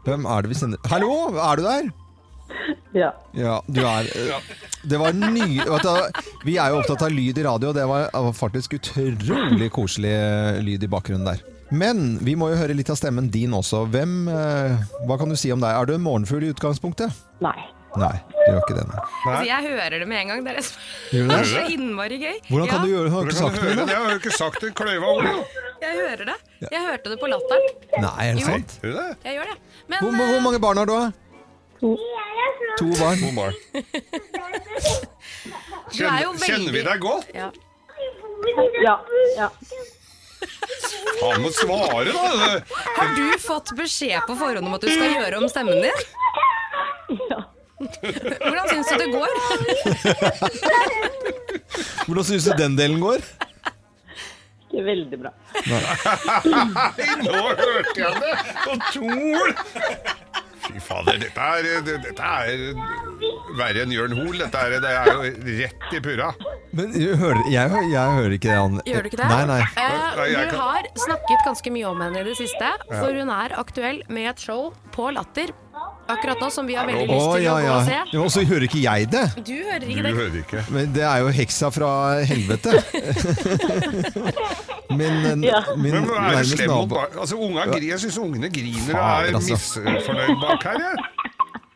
S1: Hvem er det vi sender Hallo, er du der?
S7: Ja.
S1: Ja, du er eh, Det var ny... Vet du, vi er jo opptatt av lyd i radio, og det var det var faktisk utrolig koselig eh, lyd i bakgrunnen der. Men vi må jo høre litt av stemmen din også. Hvem eh, Hva kan du si om deg? Er du en morgenfugl i utgangspunktet?
S7: Nei.
S1: Nei, du gjør ikke det. Nei.
S3: Altså, jeg hører det med en gang. Det er det som
S1: Gjør du
S3: er
S1: det?
S3: så innmari gøy.
S1: Hvordan kan
S3: ja,
S1: du gjøre det? Har du ikke sagt
S2: Hvordan kan du høre
S1: noe?
S2: det? Jeg har jo ikke sagt en kløyva ord.
S3: Jeg hører det. Jeg hørte det på latteren.
S1: da? Nei, er det
S3: Jo.
S1: sant?
S2: Hører du det?
S3: Jeg gjør det. Men
S1: Hvor, hvor
S3: eh,
S1: mange barn har du? da? To barn.
S2: God morgen.
S3: du er jo
S2: Kjenner,
S3: veldig
S2: kjenner vi deg godt?
S3: Ja.
S7: Ja. ja.
S2: Han må svare, da!
S3: eh, Har du fått beskjed på forhånd om at du skal gjøre om stemmen din?
S7: ja.
S3: Hvordan syns du det går?
S1: Hvordan syns du den delen går?
S7: Ikke veldig bra.
S2: Nei, nå hørte jeg det! Og Tor! Fy fader, dette er, dette er verre enn Jørn Hoel. Dette er, det er jo rett i purra.
S1: Men jeg hører, jeg, hører- jeg hører ikke det. Anne.
S3: Gjør du ikke det?
S1: Nei, nei.
S3: Eh,
S2: Nei, jeg
S3: du
S2: kan-
S3: har snakket ganske mye om henne i det siste, for hun er aktuell med et show på Latter akkurat nå, som vi har veldig
S1: Å,
S3: lyst til
S1: ja,
S3: å gå
S1: ja.
S3: og se.
S1: Og så hører ikke jeg det.
S3: Du hører
S2: Du
S3: ikke det?
S2: hører ikke.
S1: Men det er jo heksa fra helvete. min eh,
S7: Ja.
S1: min
S2: Men er det
S1: nærmest
S2: slem mot
S1: nabo.
S2: barn? Altså, unga gri, jeg syns ungene griner og
S1: Fader,
S2: er
S1: altså.
S2: misfornøyd bak her, jeg.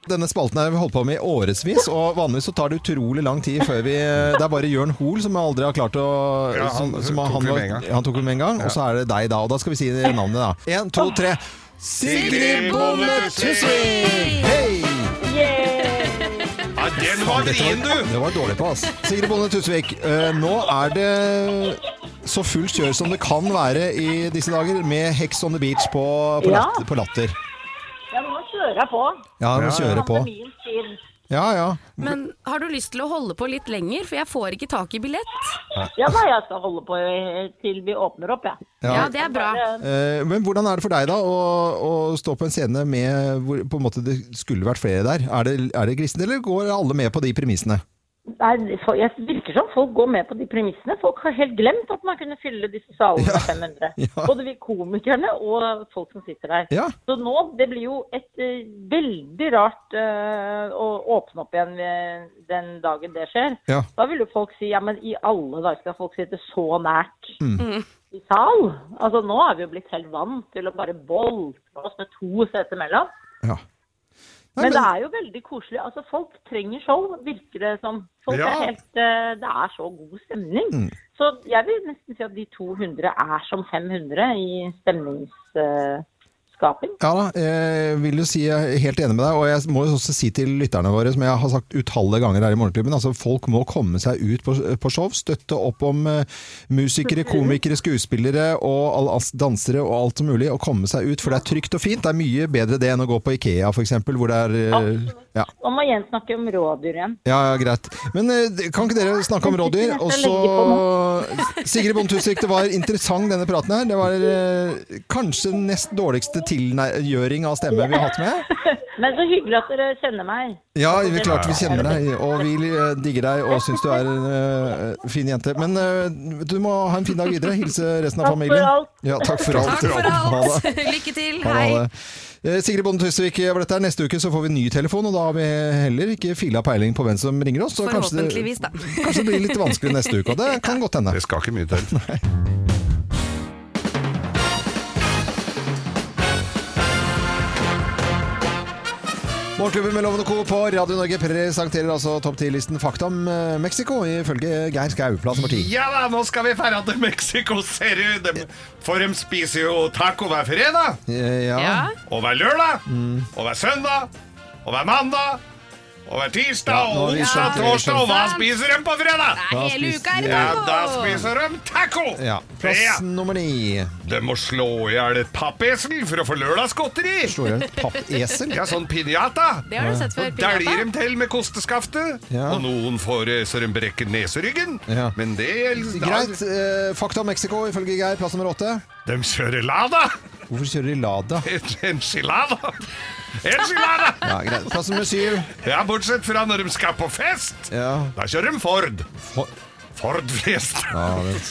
S1: Denne spalten har vi holdt på med i årevis, og vanligvis så tar det utrolig lang tid før vi eh, Det er bare Jørn Hoel som aldri har klart å
S2: Ja, han
S1: som- som
S2: tok vi med en gang.
S1: han tok vi med en gang. Og så er det deg da, og da skal vi si navnet, da. Én, to, tre. Sigrid Bonde Tusvik! Hei!
S2: Ja, den var vrien, du!
S1: Det var jeg dårlig på, ass. Sigrid Bonde Tusvik, eh, nå er det så fullt kjør som det kan være i disse dager med Hex on the Beach på, på,
S7: Ja.
S1: latter, på latter.
S7: Ja, men nå kjører jeg på.
S1: Ja, vi må
S2: Ja, ja.
S1: kjøre på.
S7: Pandemiens tid.
S1: Ja, ja.
S3: Men har du lyst til å holde på litt lenger, for jeg får ikke tak i billett?
S7: Ja da, jeg skal holde på eh, til vi åpner opp, jeg.
S3: Ja, det er bra.
S7: Bare-
S1: Eh, Men hvordan er det for deg da å, å stå på en scene med hvor på en måte det skulle vært flere der? Er det, er det gristent, eller går alle med på de premissene?
S7: Nei, for- jeg virker som folk går med på de premissene. Folk har helt glemt at man kunne fylle disse salene med 500.
S1: ja.
S7: Både vi komikerne og folk som sitter der.
S1: Ja.
S7: Så nå, det blir jo et eh, veldig rart eh, å åpne opp igjen ved den dagen det skjer.
S1: Ja.
S7: Da vil jo folk si, ja, men i alle dager skal folk sitte så nært i sal. Altså, nå er vi jo blitt helt vant til å bare boltre oss med to seter mellom.
S1: Ja. Nei,
S7: Men det er jo veldig koselig. Altså, folk trenger show, virker det som. Folk
S2: Ja.
S7: er helt, eh, det er så god stemning. Så jeg vil nesten si at de 200 er som 500 i stemningsskaping.
S1: Ja da, jeg vil jo si jeg er helt enig med deg, og jeg må jo også si til lytterne våre, som jeg har sagt utallige ganger her i Morgenklubben, altså folk må komme seg ut på, på show, støtte opp om eh, musikere, komikere, skuespillere og all, ass- dansere og alt mulig, og komme seg ut, for det er trygt og fint. Det er mye bedre det enn å gå på Ikea for eksempel, hvor det er... eh, Ja.
S7: Nå må Jens snakke om rådyr igjen.
S1: Ja, ja, greit. Men eh, kan ikke dere snakke om rådyr?
S7: Jeg skal
S1: Og
S7: legge
S1: så Sigrid Bonde Tusvik, det var interessant denne praten her. Det var eh, kanskje den nest dårligste tilgjøring av stemme vi har hatt med.
S7: Men så hyggelig at dere kjenner meg.
S1: Ja, vi klart vi kjenner deg, og vi eh, digger deg og syns du er en eh, fin jente. Men eh, du må ha en fin dag videre. Hilse resten av
S7: Takk for
S1: familien.
S7: alt.
S1: Ja, takk for alt.
S3: Takk for
S1: Ha
S3: alt!
S1: det.
S3: Lykke til,
S1: Ha det, ha
S3: hei!
S1: det. Eh, Sigrid Bonde Tusvik var dette her. Neste uke så får vi ny telefon, og da har vi heller ikke fila peiling på hvem som ringer oss. så kanskje det-
S3: Forhåpentligvis, da.
S1: Kanskje det blir litt vanskelig neste uke, og det kan godt hende.
S2: Det skal ikke mye til.
S1: Morgenklubben med Loven og Co. på Radio Norge presenterer altså topp 10-listen Fakta om eh, Mexico, ifølge Geir Skau, plass nummer 10.
S2: Ja da, nå skal vi ferda til Mexico, ser du. De, for de spiser jo taco hver fredag,
S1: Eh,
S3: Ja.
S1: Ja.
S2: og hver lørdag, og hver søndag, og hver mandag, og hver tirsdag,
S1: Ja, nå
S2: og
S1: har vi
S2: onsdag,
S1: skjønt det.
S2: torsdag, og hva
S3: Sant.
S2: spiser de på fredag?
S3: Det
S1: Da
S3: er hele
S1: spiser-
S3: uka er det
S2: Ja, da
S3: taco!
S2: spiser de taco!
S1: ja.
S2: Ja.
S1: Plass nummer 9.
S2: De må slå i hjel et pappesel for å få lørdagsgodteri!
S1: Slår i hjel et pappesel.
S2: Ja, sånn pinjata.
S3: Det har du sett før.
S2: Dæljer
S3: Pinata.
S2: dem til med kosteskaftet,
S1: Ja.
S2: og noen får eh, så de brekker neseryggen.
S1: Ja.
S2: Men det
S1: Greit. eh, Fakta om Mexico, ifølge Geir, plass nummer 8.
S2: De kjører lada!
S1: Hvorfor kjører de Lada?
S2: Enchilada! Enchilada!
S1: Ja, greit. Plass nummer 7.
S2: Ja, bortsett fra når de skal på fest.
S1: Ja.
S2: Da kjører de Ford.
S1: For-
S2: Ford-fest.
S1: Ja, det...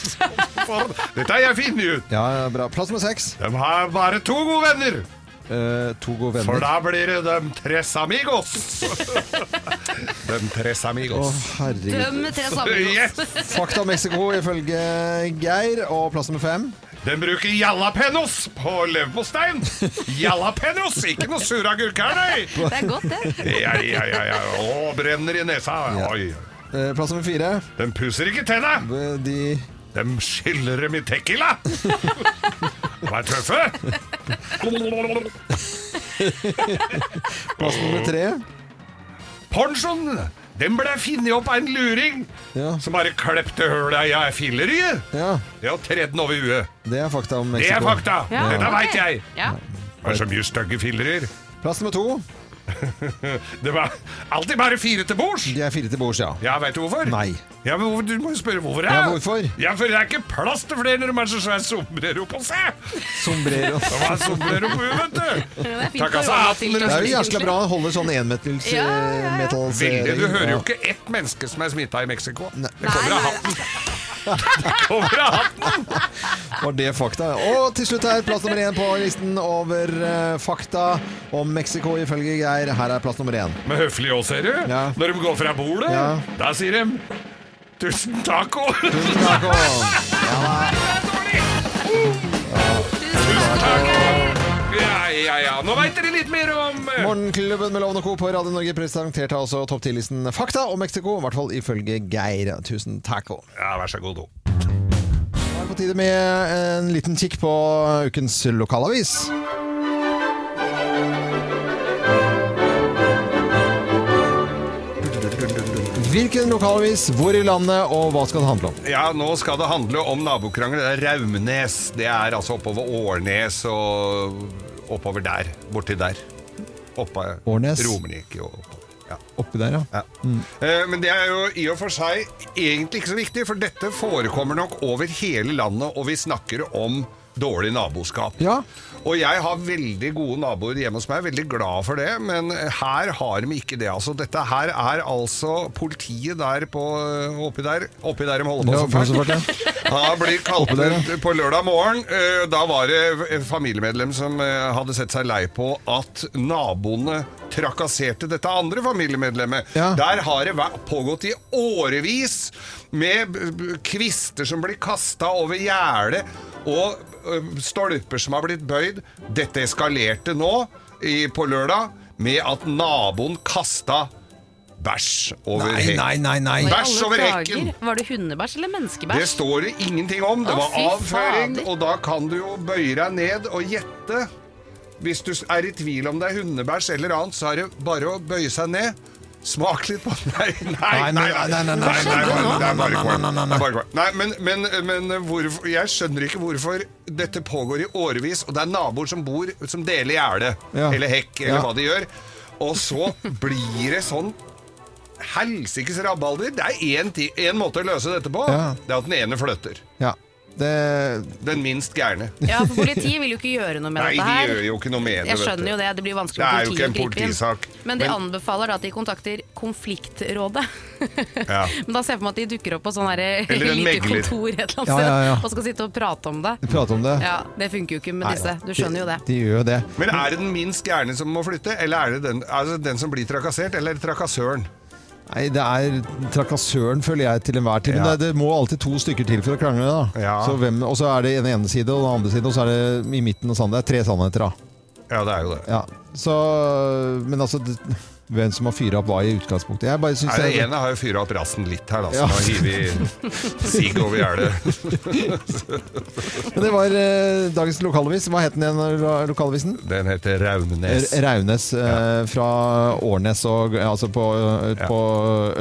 S2: Ford. Dette har jeg funnet ut.
S1: ja, ja, bra. Plass nummer 6.
S2: De har bare to gode venner,
S1: Eh, to gode
S2: for
S1: venner.
S2: da blir det de tres amigos. de tres
S1: Å,
S2: amigos.
S1: herregud.
S3: Døm tre
S2: Yes.
S3: sammenhengende.
S1: Fakta om Mexico, ifølge Geir, og plass nummer 5.
S2: De bruker jalapenos på leverposteien. Jalapenos, ikke noe suragurk her, nei.
S3: Det er godt, det.
S2: Ja, ja, ja, ja. Å, brenner i nesa. Oi.
S1: Eh, Plass nummer 4.
S2: De pusser ikke tenna.
S1: De
S2: De skyller dem i tequila! De er tøffe!
S1: Plass nummer tre.
S2: Ponchoen den ble funnet opp av en luring
S1: Ja.
S2: som bare klepte hullet i filleriet
S1: Ja,
S2: Det og tredde den over huet.
S1: det er fakta om
S2: Det
S1: Mexico.
S2: er fakta!
S3: Ja,
S2: Dette
S3: ok.
S2: veit jeg!
S3: Ja.
S2: Det er så mye stygge fillerier.
S1: Plass nummer to.
S2: Det var alltid bare fire til bords!
S1: De er fire til bords, ja.
S2: Ja, veit du hvorfor?
S1: Nei.
S2: Ja, men hvorfor- Du må jo spørre hvorfor.
S1: Ja, hvorfor?
S2: Ja, for det er ikke plass til flere når de er så svære sombrero på seg!
S1: Sombrero.
S2: De har sombrero på huet, vet du!
S3: Det er fint
S2: Takk,
S3: for
S2: altså,
S3: Roma-filter.
S1: Det er jo
S2: Egentlig.
S1: jæskla bra. Han holder sånn enmetals... eh,
S3: Ja, ja, ja.
S1: metals-
S2: Veldig, du hører jo ikke ett menneske som er smitta i Mexico. Det
S3: Nei,
S2: kommer av
S3: nei,
S2: hatten. Det kommer av hatten.
S1: Ja, Var det fakta? Og til slutt her, plass nummer én på listen over eh, fakta om Mexico ifølge Geir. Her er plass nummer én.
S2: Men høflig òg, ser du.
S1: Ja.
S2: Når de går fra bordet,
S1: Ja.
S2: da sier de 'tusen taco'. Tusen
S1: Taco.
S2: taco. Ja, ja, ja. Nå veit dere litt mer om eh,
S1: Morgenklubben med Loven og Co. på Radio Norge presenterte altså topp 10-listen Fakta om Mexico, i hvert fall ifølge Geir. Tusen taco.
S2: Ja, vær så god, do.
S1: Da er det på tide med en liten kikk på ukens lokalavis. Hvilken lokalavis, hvor i landet, og hva skal det handle om?
S2: Ja, nå skal det handle om nabokrangel. Det er Raumnes. Det er altså oppover Årnes og oppover der. Borti der. Oppe
S1: Årnes?
S2: Romerike og oppover.
S1: Oppi der, ja.
S2: Ja. Eh, Men det er jo i og for seg egentlig ikke så viktig, for dette forekommer nok over hele landet, og vi snakker om dårlig naboskap.
S1: Ja.
S2: Og jeg har veldig gode naboer hjemme hos meg, veldig glad for det, men her har de ikke det. Altså, dette her er altså politiet der på, oppi der, oppi der de holder på
S1: Ja,
S2: så fælt.
S1: så fælt, ja.
S2: Da blir kalt
S1: Oppi der, ja.
S2: ut på lørdag morgen. eh, Da var det et familiemedlem som eh, hadde sett seg lei på at naboene trakasserte dette andre familiemedlemmet.
S1: Ja.
S2: Der har det vært- pågått i årevis med b- b- kvister som blir kasta over gjerdet, og eh, stolper som har blitt bøyd. Dette eskalerte nå i, på lørdag med at naboen kasta bæsj over
S1: Nei,
S2: hekken.
S1: nei, nei, nei.
S3: Hva i
S2: Bæsj
S3: alle
S2: over
S3: dager?
S2: hekken.
S3: Var det hundebæsj eller menneskebæsj?
S2: Det står det ingenting om. Det
S3: Å,
S2: var
S3: fy
S2: avføring,
S3: fader.
S2: og da kan du jo bøye deg ned og gjette. Hvis du er i tvil om det er hundebæsj eller annet, så er det bare å bøye seg ned. Smak litt på Nei, nei,
S1: Nei, nei, nei, nei, nei,
S2: Nei, nei,
S1: nei,
S2: nei,
S1: nei,
S2: det er
S1: nei,
S2: bare kål.
S1: nei, nei, nei,
S2: Det er bare kål. Nei, men, men, men hvorfor, jeg skjønner ikke hvorfor dette pågår i årevis, og det er naboer som bor som deler gjerde,
S1: Ja.
S2: eller hekk, eller
S1: Ja.
S2: hva de gjør. Og så blir det sånn helsikes rabalder. Det er én ti- én måte å løse dette på.
S1: Ja.
S2: Det er at den ene flytter.
S1: ja. Det,
S2: Den minst gærne.
S3: Ja, for politiet vil jo ikke gjøre noe med
S2: Nei, de
S3: dette her.
S2: gjør jo ikke noe med det.
S3: Jeg
S2: vet
S3: skjønner
S2: du.
S3: jo det, det blir vanskelig
S2: Det er
S3: for
S2: jo
S3: politiet
S2: ikke en
S3: å gripe inn.
S2: politisak,
S3: Men de
S2: men-
S3: anbefaler da at de kontakter Konfliktrådet.
S2: Ja.
S3: Men da ser jeg for meg at de dukker opp på sånn her
S2: Eller en
S3: lite
S2: megler.
S3: kontor et eller annet
S1: Ja, ja, ja.
S3: sted og skal sitte og prate om det.
S1: prate om det.
S3: Ja, Det funker jo ikke med
S1: Nei,
S3: disse, du skjønner jo det.
S1: De, de gjør jo det.
S2: Men er det den minst gærne som må flytte, eller er det den, er det den som blir trakassert, eller er det trakassøren?
S1: Nei, det er trakassøren, føler jeg, til enhver tid. Men
S2: Ja.
S1: det, det må alltid to stykker til for å krangle, da.
S2: Ja.
S1: Så hvem, og så er det den ene side og den andre side, og så er det i midten og sånn. Det er tre sannheter, da.
S2: Ja, det er jo det.
S1: Ja. Så, men altså det, Hvem som har fyra opp hva i utgangspunktet? Jeg bare syns
S2: Nei, det
S1: det-
S2: ene har jo fyra opp rassen litt her, da,
S1: Ja.
S2: som har hivet sigg over gjerdet.
S1: Men det var eh, dagens lokalavis. Hva het den igjen, lo- lokalavisen?
S2: Den heter Raunes.
S1: R- Raunes eh, fra Årnes, og, ja, altså på, eh,
S2: Ja.
S1: på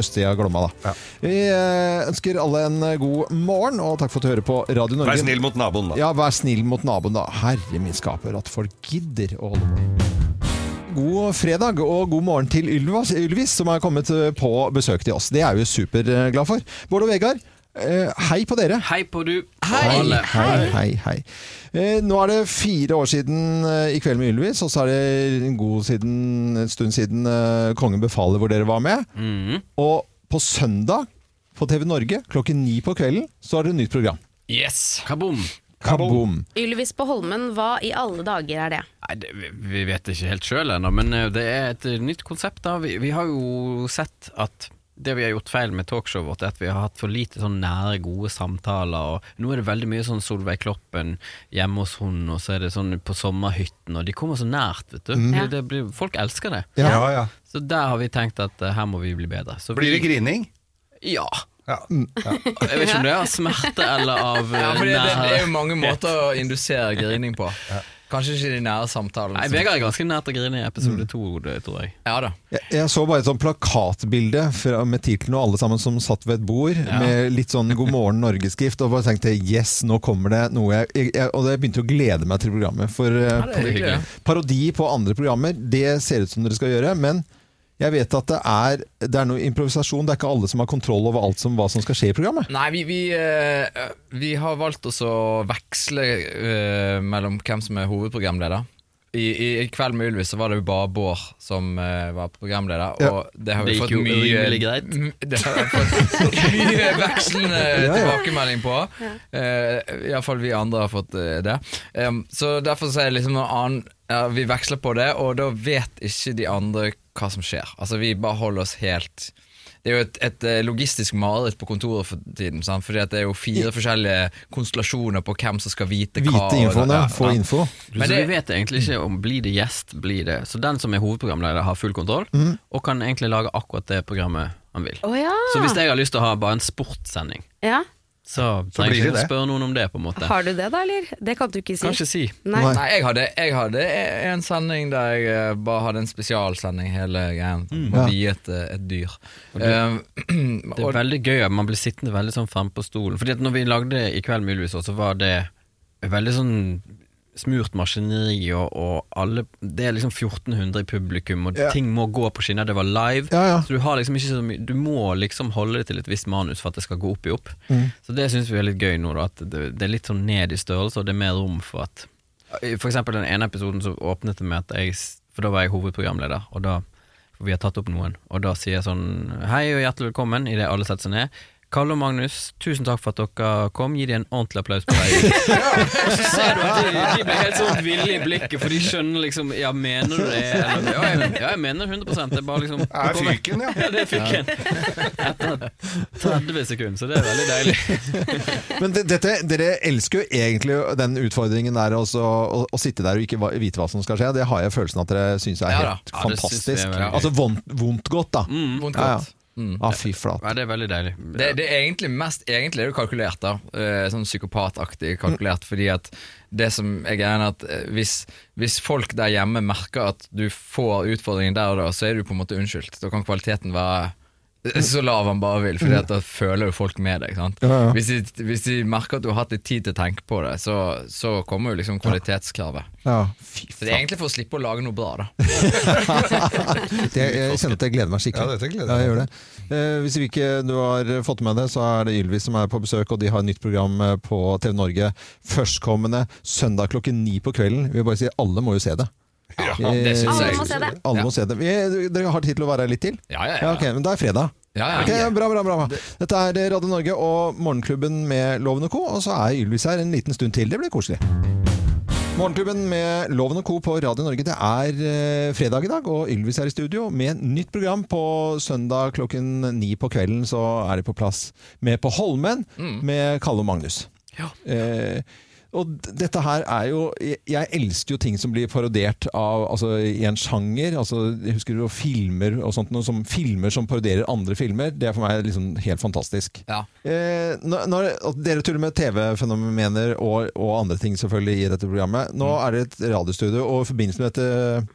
S1: østsida av Glomma. Da.
S2: Ja.
S1: Vi eh, ønsker alle en god morgen, og takk for at du hører på Radio Norge.
S2: Vær snill mot naboen, da.
S1: Ja, vær snill mot naboen, da. Herre min skaper, at folk gidder å holde på. God fredag og god morgen til Ylvas, Ylvis, som er kommet eh, på besøk til oss. Det er vi jo superglad for. Bård og Vegard, eh, hei på dere.
S8: Hei på du.
S1: Hei,
S8: Alle.
S1: hei, hei. hei. Eh, nå er det fire år siden eh, I kveld med Ylvis, og så er det en god siden, en stund siden eh, Kongen befaler hvor dere var med. Og på søndag på TV Norge klokken ni på kvelden så er det nytt program.
S8: Yes. Kaboom.
S1: Kaboom!
S3: Ylvis på Holmen, hva i alle dager er det?
S8: Nei, det, vi- vi vet det ikke helt sjøl ennå, men eh, det er et eh, nytt konsept. da vi, vi har jo sett at det vi har gjort feil med talkshowet vårt, er at vi har hatt for lite sånn nære, gode samtaler. Og nå er det veldig mye sånn Solveig Kloppen hjemme hos hun, og så er det sånn på sommerhytten, og de kommer så nært, vet du.
S9: Mhm.
S8: Det, det blir, folk elsker det.
S1: Ja.
S2: Ja, ja.
S8: Så der har vi tenkt at eh, her må vi bli bedre. Så
S2: Blir det
S8: vi,
S2: grining?
S8: Ja.
S2: Ja.
S1: Mm.
S8: Jeg vet ikke om det er av smerte eller av eh,
S9: Ja, fordi det, det er
S8: nær-
S9: jo mange måter å indusere grining på. Kanskje ikke de nære samtalene.
S8: Nei,
S9: som-
S8: Vegard er ganske nær til å grine i episode to, det tror jeg.
S9: Ja da.
S1: Jeg, jeg så bare et sånn plakatbilde fra, med tittelen og alle sammen som satt ved et bord med litt sånn God morgen Norge-skrift, og bare tenkte yes, nå kommer det noe jeg, jeg, jeg Og jeg begynte å glede meg til programmet. For eh,
S9: det er hyggelig, ja.
S1: parodi på andre programmer, det ser ut som dere skal gjøre, men jeg vet at det er, det er noe improvisasjon. Det er ikke alle som har kontroll over alt som, hva som skal skje i programmet.
S9: Nei, vi, vi, eh, vi har valgt oss å veksle eh, mellom hvem som er hovedprogramleder. I, i, I kveld med Ylvis så var det jo bare Bård som eh, var programleder, og
S1: Ja.
S9: det har vi
S8: Det gikk
S9: fått
S8: jo
S9: mye
S8: rimelig greit.
S9: m- Det har vi fått mye vekslende
S1: Ja, ja.
S9: tilbakemelding på. Eh, i hvert Iallfall vi andre har fått eh, det. Em, så derfor så er det liksom noe annet ja, Vi veksler på det, og da vet ikke de andre hva som skjer. Altså Vi bare holder oss helt det er jo et, et eh, logistisk mareritt på kontoret for tiden. Sant? Fordi at det er jo fire forskjellige konstellasjoner på hvem som skal vite hva.
S1: Vite
S9: og-
S1: infoen, ja.
S9: ja,
S1: Få
S9: ja.
S1: info.
S8: Men vi vet egentlig ikke om blir det gjest, blir det Så den som er hovedprogramleder, har full kontroll, og kan egentlig lage akkurat det programmet han vil.
S3: Å ja.
S8: Så hvis jeg har lyst til å ha bare en sportssending,
S3: ja!
S8: så trenger
S2: blir
S8: jeg
S2: det
S8: ikke
S2: det.
S8: spørre noen om det, på en måte.
S3: Har du det, da, eller? Det kan du ikke si.
S8: Kan ikke si.
S3: Nei.
S1: Nei.
S9: Nei, jeg hadde, jeg hadde en sending der jeg eh, bare hadde en spesialsending hele greien. Må
S1: Mm. Ja.
S9: vie et, eh, et dyr. Um,
S8: Det
S9: og-
S8: er veldig gøy at man blir sittende veldig sånn fremme på stolen. Fordi at når vi lagde I kveld med Ylvis, så var det veldig sånn smurt maskineri, og, og alle Det er liksom 1400 i publikum, og
S1: Ja.
S8: ting må gå på skinner. Det var live.
S1: Ja, ja.
S8: Så du har liksom ikke så mye Du må liksom holde det til et visst manus for at det skal gå opp i opp.
S1: Mm.
S8: Så det syns vi er litt gøy nå, da, at det, det er litt sånn ned i størrelse, og det er mer rom for at For eksempel den ene episoden så åpnet det med at jeg s- For da var jeg hovedprogramleder, og da for vi har tatt opp noen, og da sier jeg sånn Hei og hjertelig velkommen, idet alle setter seg ned. Kalle og Magnus, tusen takk for at dere kom. Gi dem en ordentlig applaus på vei ut. Og så ser du at de, de blir helt sånn ville i blikket, for de skjønner liksom Ja, mener du det? Eller, ja, jeg, ja, jeg mener 100 Det er bare liksom
S2: Er fyken, ja.
S8: Ja, det er fyken. Etter 30 sekunder, så det er veldig deilig.
S1: Men det, dette, dere elsker jo egentlig den utfordringen der også, å, å sitte der og ikke va- vite hva som skal skje. Det har jeg følelsen at dere syns er
S9: Ja da.
S1: helt
S8: Ja, det synes vi er
S1: fantastisk.
S8: veldig gøy.
S1: altså vondt, vondt godt, da.
S9: Vondt
S1: Ja, ja.
S9: godt. Mm.
S1: Ah, fy flate.
S8: Ja, det er veldig deilig.
S9: Det, det er egentlig mest egentlig er det kalkulert, da. Eh, Sånn psykopataktig kalkulert.
S1: Mhm.
S9: Fordi at det som er greia, er at eh, hvis, hvis folk der hjemme merker at du får utfordringen der og da, så er du på en måte unnskyldt. Da kan kvaliteten være eh, så lav han bare vil, Fordi at da føler jo folk med deg. Sant?
S1: Ja, ja.
S9: Hvis, de, hvis de merker at du har hatt litt tid til å tenke på det, så, så kommer jo liksom kvalitetskravet.
S1: Ja, fy
S9: Så det er
S1: flate.
S9: egentlig for å slippe å lage noe bra, da.
S1: Det, jeg kjenner at jeg gleder meg skikkelig.
S2: Ja, dette gleder jeg
S1: jeg gjør det. Eh, hvis vi ikke du har fått med det, så er det Ylvis som er på besøk, og de har et nytt program eh, på TV Norge førstkommende søndag klokken ni på kvelden. Vi vil bare si alle må jo se det. Eh,
S9: Ja, det syns
S3: Alle
S9: jeg.
S3: må se det.
S1: Alle
S9: Ja.
S1: må se det. Vi, dere har tid til å være her litt til?
S9: Ja, ja,
S1: Ja,
S9: ja.
S1: ok, men da er fredag.
S9: ja, ja.
S1: Ok, bra, bra, bra. Dette er Radio Norge og Morgenklubben med Loven og Co. Og så er Ylvis her en liten stund til. Det blir koselig. Morgenklubben med Loven og Co. på Radio Norge. Det er eh, fredag i dag, og Ylvis er i studio med nytt program på søndag klokken ni på kvelden. Så er de på plass med På Holmen
S9: Mm.
S1: med Kalle og Magnus. Eh, og d- dette her er jo Jeg, jeg elsker jo ting som blir parodert av, altså, i en sjanger. Altså, jeg husker jo filmer og sånt, noe som filmer som parodierer andre filmer. Det er for meg liksom helt fantastisk.
S9: Ja.
S1: Eh, når, når, og dere tuller med TV-fenomener og, og andre ting selvfølgelig i dette programmet. Nå er det et radiostudio, og i forbindelse med dette,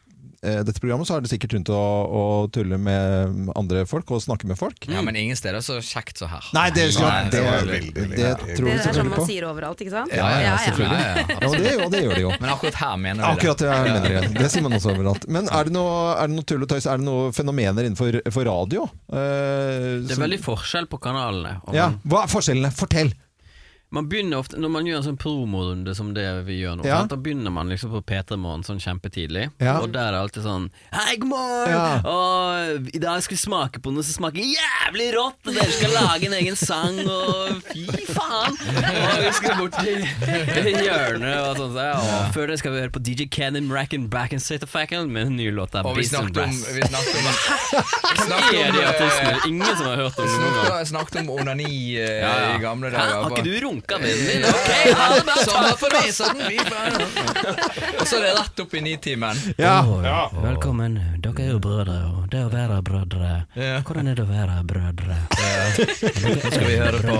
S1: eh, dette programmet så er det sikkert rundt å, å tulle med andre folk og snakke med folk.
S9: ja, men ingen steder er så kjekt som her.
S1: Nei, det,
S2: Nei,
S1: det,
S2: det var
S1: det,
S2: veldig, veldig-
S1: tror vi
S3: Det er sånn
S1: selvfølgelig
S3: man
S1: på.
S3: sier overalt, ikke sant?
S9: Ja, ja,
S3: Ja, ja.
S9: selvfølgelig.
S1: Ja,
S9: absolutt.
S1: det, jo, det gjør de jo.
S9: Men akkurat her mener vi
S1: Akkurat det
S9: det.
S1: jeg
S9: Ja.
S1: mener igjen. Det sier man også overalt. Men er det noe, er det noe tull og tøys? Er det noen fenomener innenfor for radio? Eh,
S8: Det er
S1: som-
S8: veldig forskjell på kanalene. og
S1: ja.
S8: man-
S1: Hva er forskjellene? Fortell!
S8: Man begynner ofte, Når man gjør en sånn promorunde som det vi gjør nå,
S1: Ja.
S8: sant? da begynner man liksom på P3 Morgen sånn kjempetidlig.
S1: Ja.
S8: Og der er det alltid sånn Hei, god morgen!
S1: Ja.
S8: Og i dag skal vi smake på noe som smaker jævlig rått! Og dere skal lage en egen sang, og fy faen! Og vi skal bort til til hjørnet og sånn. Så, ja. Og før det skal vi høre på DJ Cannon Rack and Back and Set of Facken med en ny låt av
S9: Og vi
S8: Beats and
S9: snakket om
S8: Brass.
S9: Vi snakket om, vi snakket
S8: Er
S9: om,
S8: de
S9: eh,
S8: artistene? Ingen som har hørt om det noen gang.
S9: snakket- snakket om onani eh, i gamle
S8: Hæ,
S9: dager.
S8: har ikke du runka vennen din?
S9: Ja.
S8: Ok, ha det bra!
S9: Sånn var for meg, sånn vi bare- Og så er det rett opp i nitimen.
S1: Ja.
S8: Velkommen. Dere er jo brødre, og det å være brødre
S9: Ja.
S8: Hvordan er det å være brødre?
S9: Nå skal vi høre på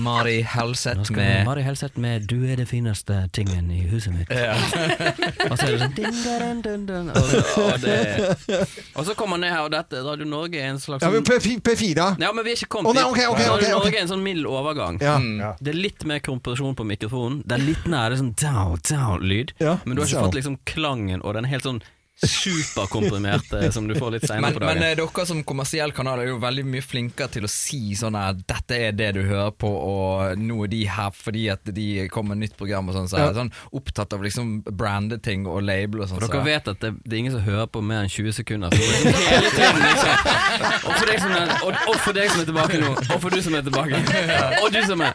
S9: Mari
S8: Nå
S9: Helseth
S8: skal vi-
S9: med
S8: Mari Helseth med 'Du er det fineste tingen i huset mitt'. og så er det sånn ding, da, dun, dun, dun. og, og, det, og så kommer han ned her, og dette Radio Norge er en slags
S1: Ja, men
S8: sånn-
S1: P- P4!
S8: Ja, men vi er ikke kommet
S1: Å, nei,
S8: dit.
S1: ok, ok,
S8: Radio
S1: ok, ok.
S8: Norge er en sånn mild overgang.
S1: Ja.
S8: Det er litt mer kompresjon på mikrofonen. Det er litt nære sånn down, down-lyd.
S1: Ja.
S8: Men du har ikke
S1: Down.
S8: fått liksom klangen og den helt sånn superkomprimerte som du får litt
S9: men,
S8: seinere på
S9: men
S8: dagen.
S9: eh, dere som kommersiell kanal er jo veldig mye flinkere til å si sånn her Dette er det du hører på, og nå er de her fordi at de kommer med nytt program og sånn. Så er det sånn opptatt av liksom branded ting og label og sånn.
S8: For
S9: så-
S8: dere vet at det, det er ingen som hører på mer enn 20 sekunder. Så det er hele tiden, liksom. og, for deg som er, og, og for deg som er tilbake nå, og for du som er tilbake, og du som er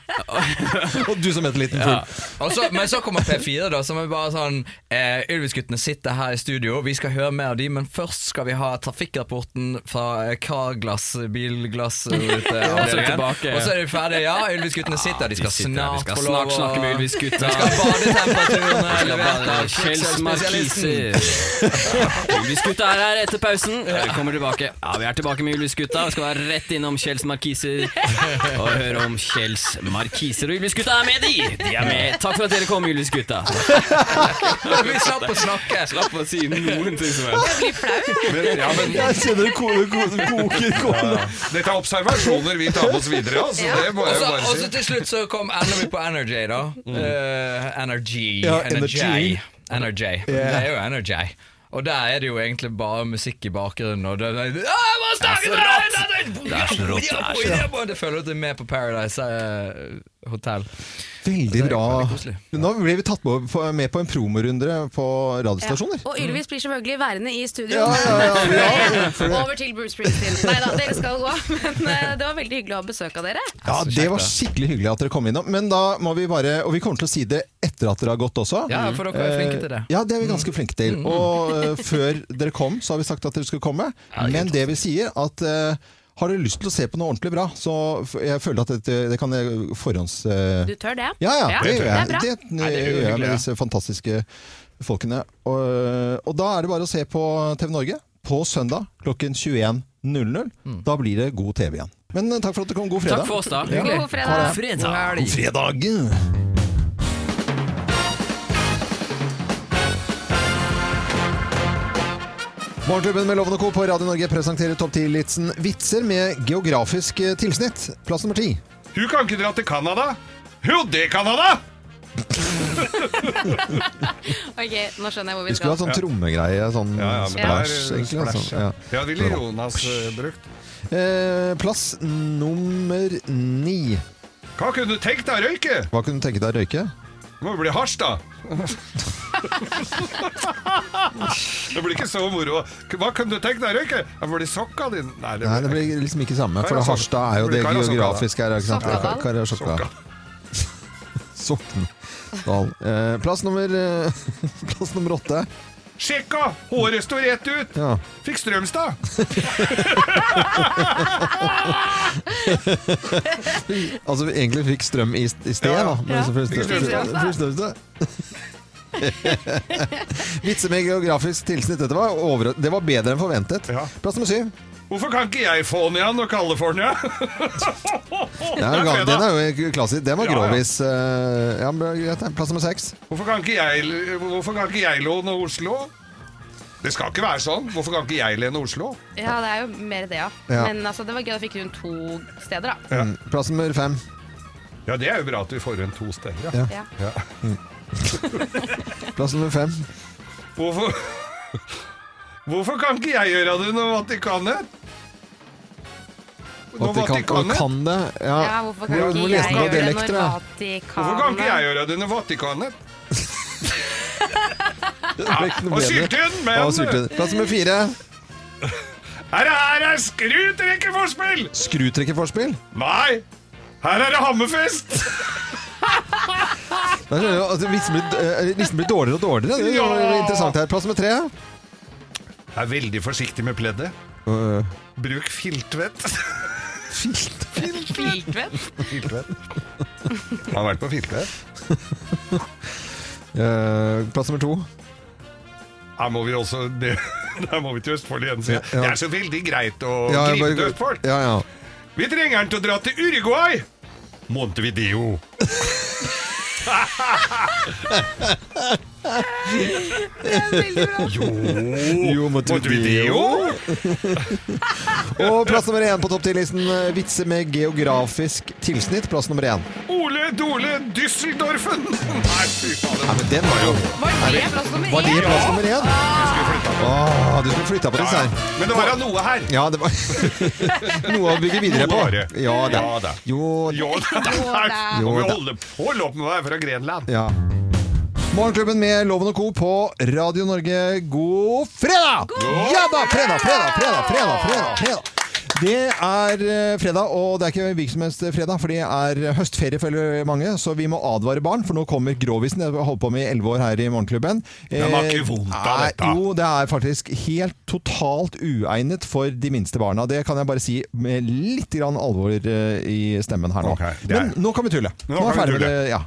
S1: Og du som heter Liten Full.
S9: Og så, men så kommer P4, da, som er bare sånn eh, Ylvis-guttene sitter her i studio, vi skal høre mer av de, men først skal vi ha trafikkrapporten fra eh, Carglass
S8: Og så
S9: bilglassruteavdelingen.
S8: tilbake.
S9: Og så er de ferdige. Ja, Ylvis-guttene sitter, de skal
S8: sitter, de
S9: snart
S8: skal
S9: få
S8: snart
S9: lov å-
S8: snakke med Ylvis-gutta.
S9: De skal ha badetemperaturene
S8: Eller
S9: levert
S8: bare
S9: av
S8: Kjell
S9: kjøkkenspesialisten.
S8: Ylvis-gutta er her etter pausen. Vi kommer tilbake. Ja, Vi er tilbake med Ylvis-gutta. Vi skal være rett innom Kjells Markiser og høre om Kjells Markiser. Markiser og Juliusgutta er med, de! De er med. Takk for at dere kom, Juliusgutta.
S9: Vi slapp å snakke!
S8: Slapp å si noen ting som helst.
S3: Jeg blir flau, jeg.
S2: Men, ja, men
S1: Jeg kjenner det ko- ko- koker kone.
S2: Dette er observasjoner vi tar med oss videre. Altså, det må jeg jo
S9: Og
S2: bare
S9: så
S2: si.
S9: til slutt så kom ender vi på Energy, da. Eh, energy.
S1: Ja,
S9: energy.
S1: energy.
S9: Energy. Det er jo Energy. Og der er det jo egentlig bare musikk i bakgrunnen. Og det, det, det, det er så rått! Det føler at du er med på Paradise eh, Hotel.
S1: Veldig
S9: Det er
S1: bra.
S9: veldig koselig.
S1: Nå ble vi tatt på- på- med på en promorunde på radiostasjoner.
S3: Og Ylvis blir selvfølgelig værende i studio.
S1: Ja, ja, ja, ja.
S3: Over til Bruce Springsteen. Nei da, dere skal gå. Men eh, det var veldig hyggelig å ha besøk av dere.
S1: Ja, Det var skikkelig hyggelig at dere kom innom. Men da må vi bare, og vi kommer til å si det etter at dere har gått også.
S9: Ja, for dere er flinke til det.
S1: Eh, Ja, det er vi ganske flinke til. Og eh, før dere kom, så har vi sagt at dere skulle komme. Men det vi sier, at eh, har dere lyst til å se på noe ordentlig bra, så f- jeg føler at dette, det kan jeg forhånds... eh,
S3: Du tør det?
S1: ja, ja, det gjør jeg.
S3: Det er bra.
S1: Det,
S2: det er jo
S1: gjør jeg
S2: hyggelig,
S1: med
S2: ja.
S1: disse fantastiske folkene. Og, eh, og da er det bare å se på TV Norge på søndag klokken 21.00. Da blir det god TV igjen. Men eh, takk for at du kom. God fredag.
S8: Takk for oss, da.
S3: God fredag.
S1: God
S8: Fredag.
S1: fredag! Morgenklubben med Loven og Co. på Radio Norge presenterer topp 10-litsen vitser med geografisk eh, tilsnitt. Plass nummer ti.
S2: Hun kan ikke dra til Canada. Jo, det kan han da!
S3: Ok, nå skjønner jeg hvor
S1: Vi
S3: vi
S1: skulle
S3: skal.
S1: hatt sånn trommegreie, sånn
S2: Ja, ja, men det
S1: splash,
S2: er, eh,
S1: egentlig.
S2: splash,
S1: altså.
S2: ja.
S1: Ja.
S2: Ja, ville Jonas eh, brukt.
S1: Eh, plass nummer ni.
S2: Hva kunne du tenkt deg, Røyke?
S1: Hva kunne du tenke deg å røyke?
S2: Det må jo bli hasj, da. det blir ikke så moro. Hva kunne du tenkt deg, Røyke? Det blir sokka di. Nei, det
S1: Nei, det
S2: blir
S1: blir liksom ikke samme, for
S2: Karasjok-
S1: Harstad er jo
S2: altså, det
S1: det
S2: blir Karasjok-
S1: geografiske her. ikke sant?
S3: Sokndal.
S1: Karasjokka.
S2: sokka.
S1: Sokndal. Eh, plass nummer eh, Plass nummer åtte.
S2: Sjekka! Håret står rett ut.
S1: Ja.
S2: Fikk Strømstad.
S1: Altså, vi egentlig fikk strøm i, i sted,
S2: Ja,
S1: da.
S2: ja.
S1: Men så først-
S2: Fikk strøm i sted.
S1: først- først- først- Vitser med geografisk tilsnitt. Dette var, over, det var bedre enn forventet.
S2: Ja.
S1: Plass nummer syv.
S2: Hvorfor kan ikke jeg få den igjen og California?
S1: Den er, jo
S2: Det
S1: ga-
S2: er fredag.
S1: den er jo klassisk. Den var
S2: Ja, ja.
S1: grovis. eh, Ja, men greit, det. plass nummer seks.
S2: Hvorfor kan ikke jeg, hvorfor kan ikke jeg låne Oslo? Det skal ikke være sånn. Hvorfor kan ikke jeg lene Oslo?
S3: Ja, det er jo mer det, ja.
S1: Ja.
S3: Men altså, det var gøy at vi fikk rundt to steder, da.
S1: Mm, Plass nummer fem.
S2: Ja, det er jo bra at vi får igjen to steder.
S1: Ja.
S2: Ja.
S3: Ja.
S1: Plass nummer fem.
S2: Hvorfor, hvorfor kan ikke jeg gjøre det når Vatikanet? Når
S1: At de kan, og
S2: Vatikanet?
S1: kan det. Ja,
S3: Ja, hvorfor kan
S1: Hvor-
S3: ikke
S1: hvor
S3: jeg
S1: leste du av
S3: gjøre det
S1: dialekter,
S3: når
S1: da?
S2: Hvorfor kan ikke jeg
S3: Vatikanet
S2: gjøre det under Vatikanet?
S1: Det ble ikke noe
S2: Og
S1: bedre.
S2: syltynn, men
S1: Ja, og syltynn. Plass nummer fire.
S2: Her er, her er skrutrekkeforspill!
S1: Skrutrekkerforspill.
S2: Nei! Her er det hammerfest!
S1: Der skjønner du at Listen blir, eh, listen blir dårligere og dårligere. Det er jo
S2: Ja.
S1: interessant her. Plass nummer tre.
S2: Jeg er veldig forsiktig med pleddet.
S1: Øh,
S2: Bruk filtvett.
S1: Filt.
S3: Filtvett?
S2: filtvett. Han har vært på filtvett.
S1: Eh, plass nummer to.
S2: Her må vi også det, Der må vi til Østfold igjen. sier jeg.
S1: Ja, ja.
S2: Det er så veldig greit å
S1: jeg
S2: gripe til
S1: bare-
S2: Østfold.
S1: Ja, ja.
S2: Vi trenger den til å dra til Uruguay! Montevideo. Jo,
S1: Jo, Montevideo. Og plass nummer én på topp 10-listen. eh, Vitser med geografisk tilsnitt. Plass nummer én.
S2: Ole Dole Düsseldorfen! Nei, fy fader.
S1: Nei, men den var jo
S3: Var det plass nummer
S1: Var det
S3: én?
S1: plass nummer én? Åh, du skulle flytta på disse
S2: Ja,
S1: her.
S2: ja. Men det var da noe her.
S1: Ja, det var noe å bygge videre på.
S2: Noe var det.
S1: Ja da.
S2: Ja da.
S1: Jo
S2: Jo, da.
S3: da.
S2: Nå må
S1: Jo,
S2: vi
S1: da.
S2: holde, hold opp med å være fra Grenland.
S1: ja. Morgenklubben med Loven og Co. på Radio Norge, god fredag! Ja da! Fredag, fredag, fredag, fredag! fredag, fredag. Det er eh, fredag, og det er ikke hvilken som helst fredag, for det er høstferie for mange, så vi må advare barn, for nå kommer grovisen. Jeg har holdt på med i elleve år her i Morgenklubben.
S2: Den har ikke vondt av
S1: Eh,
S2: dette.
S1: Jo, Jo, det er faktisk helt totalt uegnet for de minste barna. Det kan jeg bare si med litt grann alvor eh, i stemmen her nå.
S2: Ok, det er-
S1: Men nå kan vi tulle. Nå,
S2: kan
S1: er
S2: vi
S1: ferdig med
S2: tulle.
S1: det. Ja.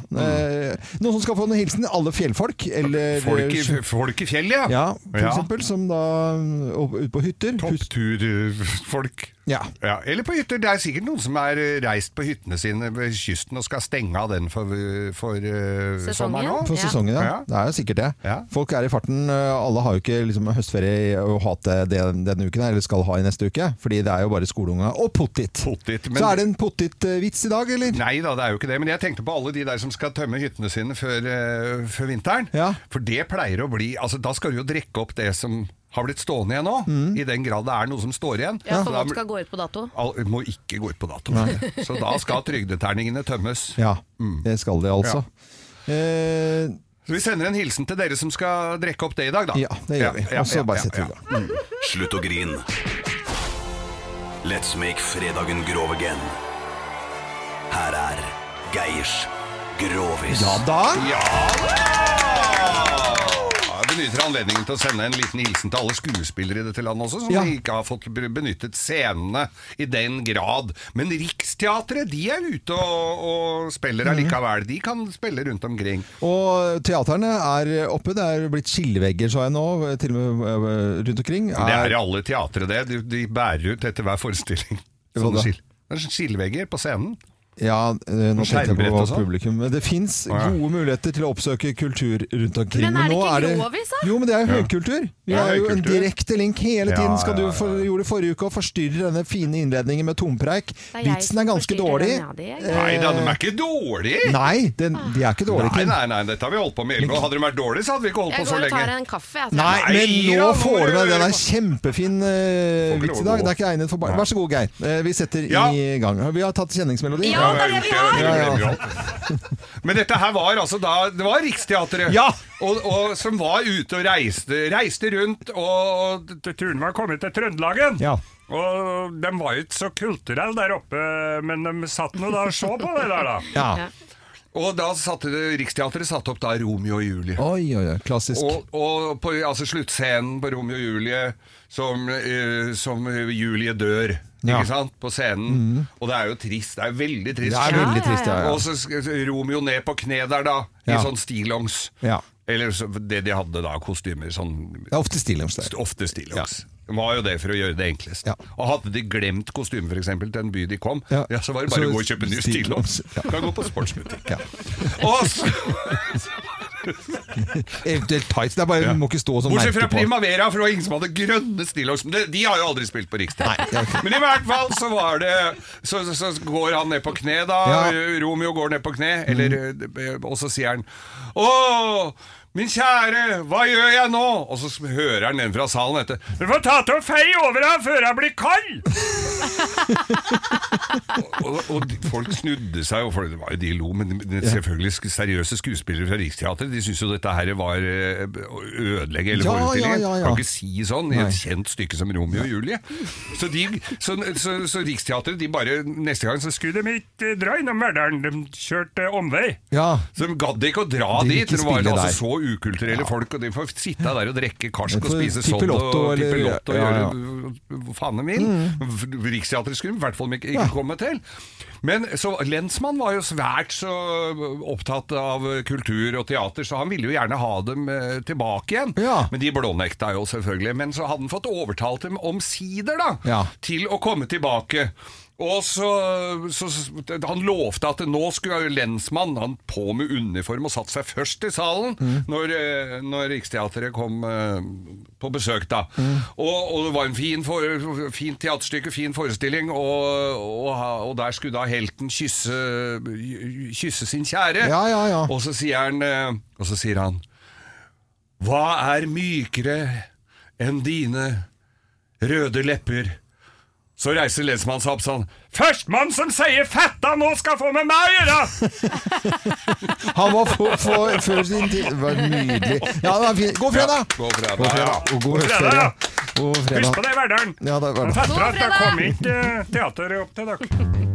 S1: Eh, Noen som skal få en hilsen? Alle fjellfolk? Eller eh,
S2: Folk i, folk i fjellet,
S1: eh, Ja, for eksempel. Som da mm, opp- ut på hytter. Hus-
S2: Toppturfolk.
S1: Ja.
S2: Ja, eller på hytter. Det er sikkert noen som er eh, reist på hyttene sine ved kysten og skal stenge av den for, eh, for eh,
S3: Sesongen.
S2: sommeren òg.
S1: For
S3: Ja.
S1: sesongen, ja.
S2: Ja.
S1: Det er jo sikkert det.
S2: Ja.
S1: Folk er i farten. øh, Alle har jo ikke liksom, høstferie og hate det denne uken, her, eller skal ha i neste uke. Fordi det er jo bare skoleunga og pottit.
S2: Pottit, men-
S1: Så er det en pottit-vits i dag, eller?
S2: Nei da, det er jo ikke det. Men jeg tenkte på alle de der som skal tømme hyttene sine før, eh, før vinteren.
S1: Ja.
S2: For det pleier å bli Altså, da skal du jo drikke opp det som har blitt stående igjen nå.
S1: Mm.
S2: I den grad det er noe som står igjen.
S3: Ja, for
S2: Da-
S3: alt skal gå ut på dato.
S2: Al- må ikke gå ut på dato. Så da skal trygdeterningene tømmes.
S1: Ja, det skal det altså. Eh,
S2: Så vi sender en hilsen til dere som skal drikke opp det i dag, da.
S1: ja, det gjør vi. Og så bare setter vi i gang.
S5: Slutt å grin. Let's make fredagen grov again. Her er Geirs Grovis.
S1: Ja da!
S2: Ja da! Jeg benytter anledningen til å sende en liten hilsen til alle skuespillere i dette landet også, som
S1: Ja.
S2: ikke har fått br- benyttet scenene i den grad. Men Riksteatret de er ute og, og
S1: Mhm.
S2: spiller allikevel. De kan spille rundt omkring.
S1: Og teaterne er oppe. Det er blitt skillevegger, så jeg nå, til og med øh, rundt omkring.
S2: Det er i alle teatre, det. De, de bærer ut etter hver forestilling.
S1: Hva da?
S2: Sånne skil- det er sånne skillevegger på scenen.
S1: Ja, eh, nå tenkte jeg
S2: Skjermbrett
S1: på
S2: og sånn?
S1: publikum. Men det fins
S2: ja.
S1: gode muligheter til å oppsøke kultur rundt omkring.
S3: Men er det
S1: nå
S3: ikke grovis, da?
S1: Jo, men det er jo høykultur. Vi
S2: Ja,
S1: har jo en
S2: høykultur.
S1: direkte link hele tiden.
S2: Ja,
S1: Skal du
S2: ja, ja,
S1: for,
S2: ja.
S1: gjorde forrige uke og forstyrre denne fine innledningen med tompreik.
S3: er jeg
S1: Vitsen
S3: som
S1: er ganske
S3: forstyrrer
S1: dårlig.
S3: den, ja, det er
S2: Nei da, de er ikke dårlige!
S1: Eh. Nei, den, de er ikke dårlige.
S2: Nei,
S1: Kim.
S2: nei, nei, dette har vi holdt på med i elleve år. Hadde de vært dårlige, så hadde vi ikke holdt
S3: Jeg
S2: på så
S3: går og tar
S2: lenge.
S3: en kaffe. Altså.
S1: Nei,
S2: Nei,
S1: men nå
S2: ja, nå må
S1: får du med
S2: du
S1: den. er
S2: gjøre det.
S1: kjempefin eh,
S2: ikke
S1: vits i
S2: lov å
S1: dag.
S2: gå.
S1: Det er ikke egnet for barn. Vær så god, Geir. Eh, vi setter
S2: Ja.
S1: i gang. Vi har tatt kjenningsmelodi.
S3: Ja, det er det vi har!
S2: Ja, ja, ja. Men dette her var altså da Det var Riksteatret
S1: Ja.
S2: og, og, som var ute og reiste, reiste rundt, og t- turen var kommet til Trøndelagen.
S1: Ja.
S2: Og de var jo ikke så kulturelle der oppe, men de satt nå da og så på det der, da.
S1: Ja.
S2: Og da satte det, Riksteatret satte opp da Romeo og Julie.
S1: Oi, oi, oi. Klassisk.
S2: Og, og på altså, sluttscenen på Romeo og Julie, som, eh, som Julie dør,
S1: Ja. Mm.
S2: ikke sant, på scenen. Og det er jo trist, det er veldig trist.
S1: Det er
S2: slutt.
S1: veldig trist, ja, ja.
S2: Og så sk- Romeo ned på kne der, da,
S1: Ja.
S2: i sånn stillongs.
S1: Ja.
S2: Eller så, det de hadde da, kostymer, sånn
S1: Det er ofte stillings der.
S2: ofte stillongs. Det var jo det for å gjøre det enklest.
S1: Ja.
S2: Og hadde de glemt kostyme for eksempel, til en by de kom,
S1: Ja.
S2: ja. så var det bare
S1: Så
S2: å gå og kjøpe ny
S1: stillongs,
S2: stillongs.
S1: ja.
S2: Kan gå på sportsbutikk.
S1: Ja.
S2: Og så
S1: Eventuelt tights. Det er bare,
S2: Ja.
S1: Du må ikke stå og sånn
S2: Bortsett
S1: merke
S2: fra
S1: på.
S2: Primavera, for det var ingen som hadde grønne stillongs. Men det, de har jo aldri spilt på Riksteatret. Men i hvert fall så var det Så, så, så går han ned på kne, da.
S1: Ja.
S2: Romeo går ned på kne, eller, eh, og så sier han Å, min kjære, hva gjør jeg nå? Og så hører han den fra salen etter. Du får ta til å feie over ham før han blir kald! og, og de- folk snudde seg, og folk, det var jo de lo, men de- selvfølgelig sk- seriøse skuespillere fra Riksteatret De syntes jo dette her var eh, å ødelegge hele
S1: Ja,
S2: forestillingen.
S1: ja, ja, ja.
S2: Kan ikke si sånn i
S1: Nei.
S2: et kjent stykke som Romeo og Julie. Så, de, så, så, så Riksteatret, de bare neste gang så skulle de ikke dra innom Verdalen, de kjørte omvei.
S1: Ja.
S2: Så de gadd ikke å dra
S1: De vil
S2: dit.
S1: ikke
S2: Det var
S1: spille
S2: altså
S1: der.
S2: så ukulturelle folk, og de får sitte der og drikke karsk og
S1: Får
S2: spise sodd
S1: Pippelotto
S2: og
S1: eller-
S2: pippelotto og
S1: ja, ja. Mm.
S2: gjøre hva faen de vil. Riksteatret skulle de i hvert fall ikke ikke komme til. Men så lensmannen var jo svært så opptatt av kultur og teater, så han ville jo gjerne ha dem eh, tilbake igjen.
S1: Ja.
S2: Men de blånekta jo selvfølgelig. Men så hadde han fått overtalt dem omsider, da
S1: Ja.
S2: til å komme tilbake. Og så, så, så Han lovte at nå skulle lensmannen Han på med uniform og satte seg først i salen
S1: Mm.
S2: når, eh, når Riksteatret kom eh, på besøk. da
S1: Mm.
S2: og, og det var en fin, for, fin teaterstykke, fin forestilling, og, og, og der skulle da helten kysse, kysse sin kjære.
S1: Ja, ja, ja.
S2: Og så sier han eh, Og så sier han Hva er mykere enn dine røde lepper? Så reiser lensmannen seg opp sånn Førstemann som sier 'fetta nå skal få med meg å gjøre'!
S1: Han var for, for, før sin tid Det var nydelig. Ja, det var fin. God fredag!
S2: Ja, god fredag, ja.
S1: Og god
S2: God fredag,
S1: høstferie.
S2: ja.
S1: God fredag.
S2: det, Verdalen.
S1: Ja, det var det.
S2: fatter at det kommer ikke eh, teater opp til dere.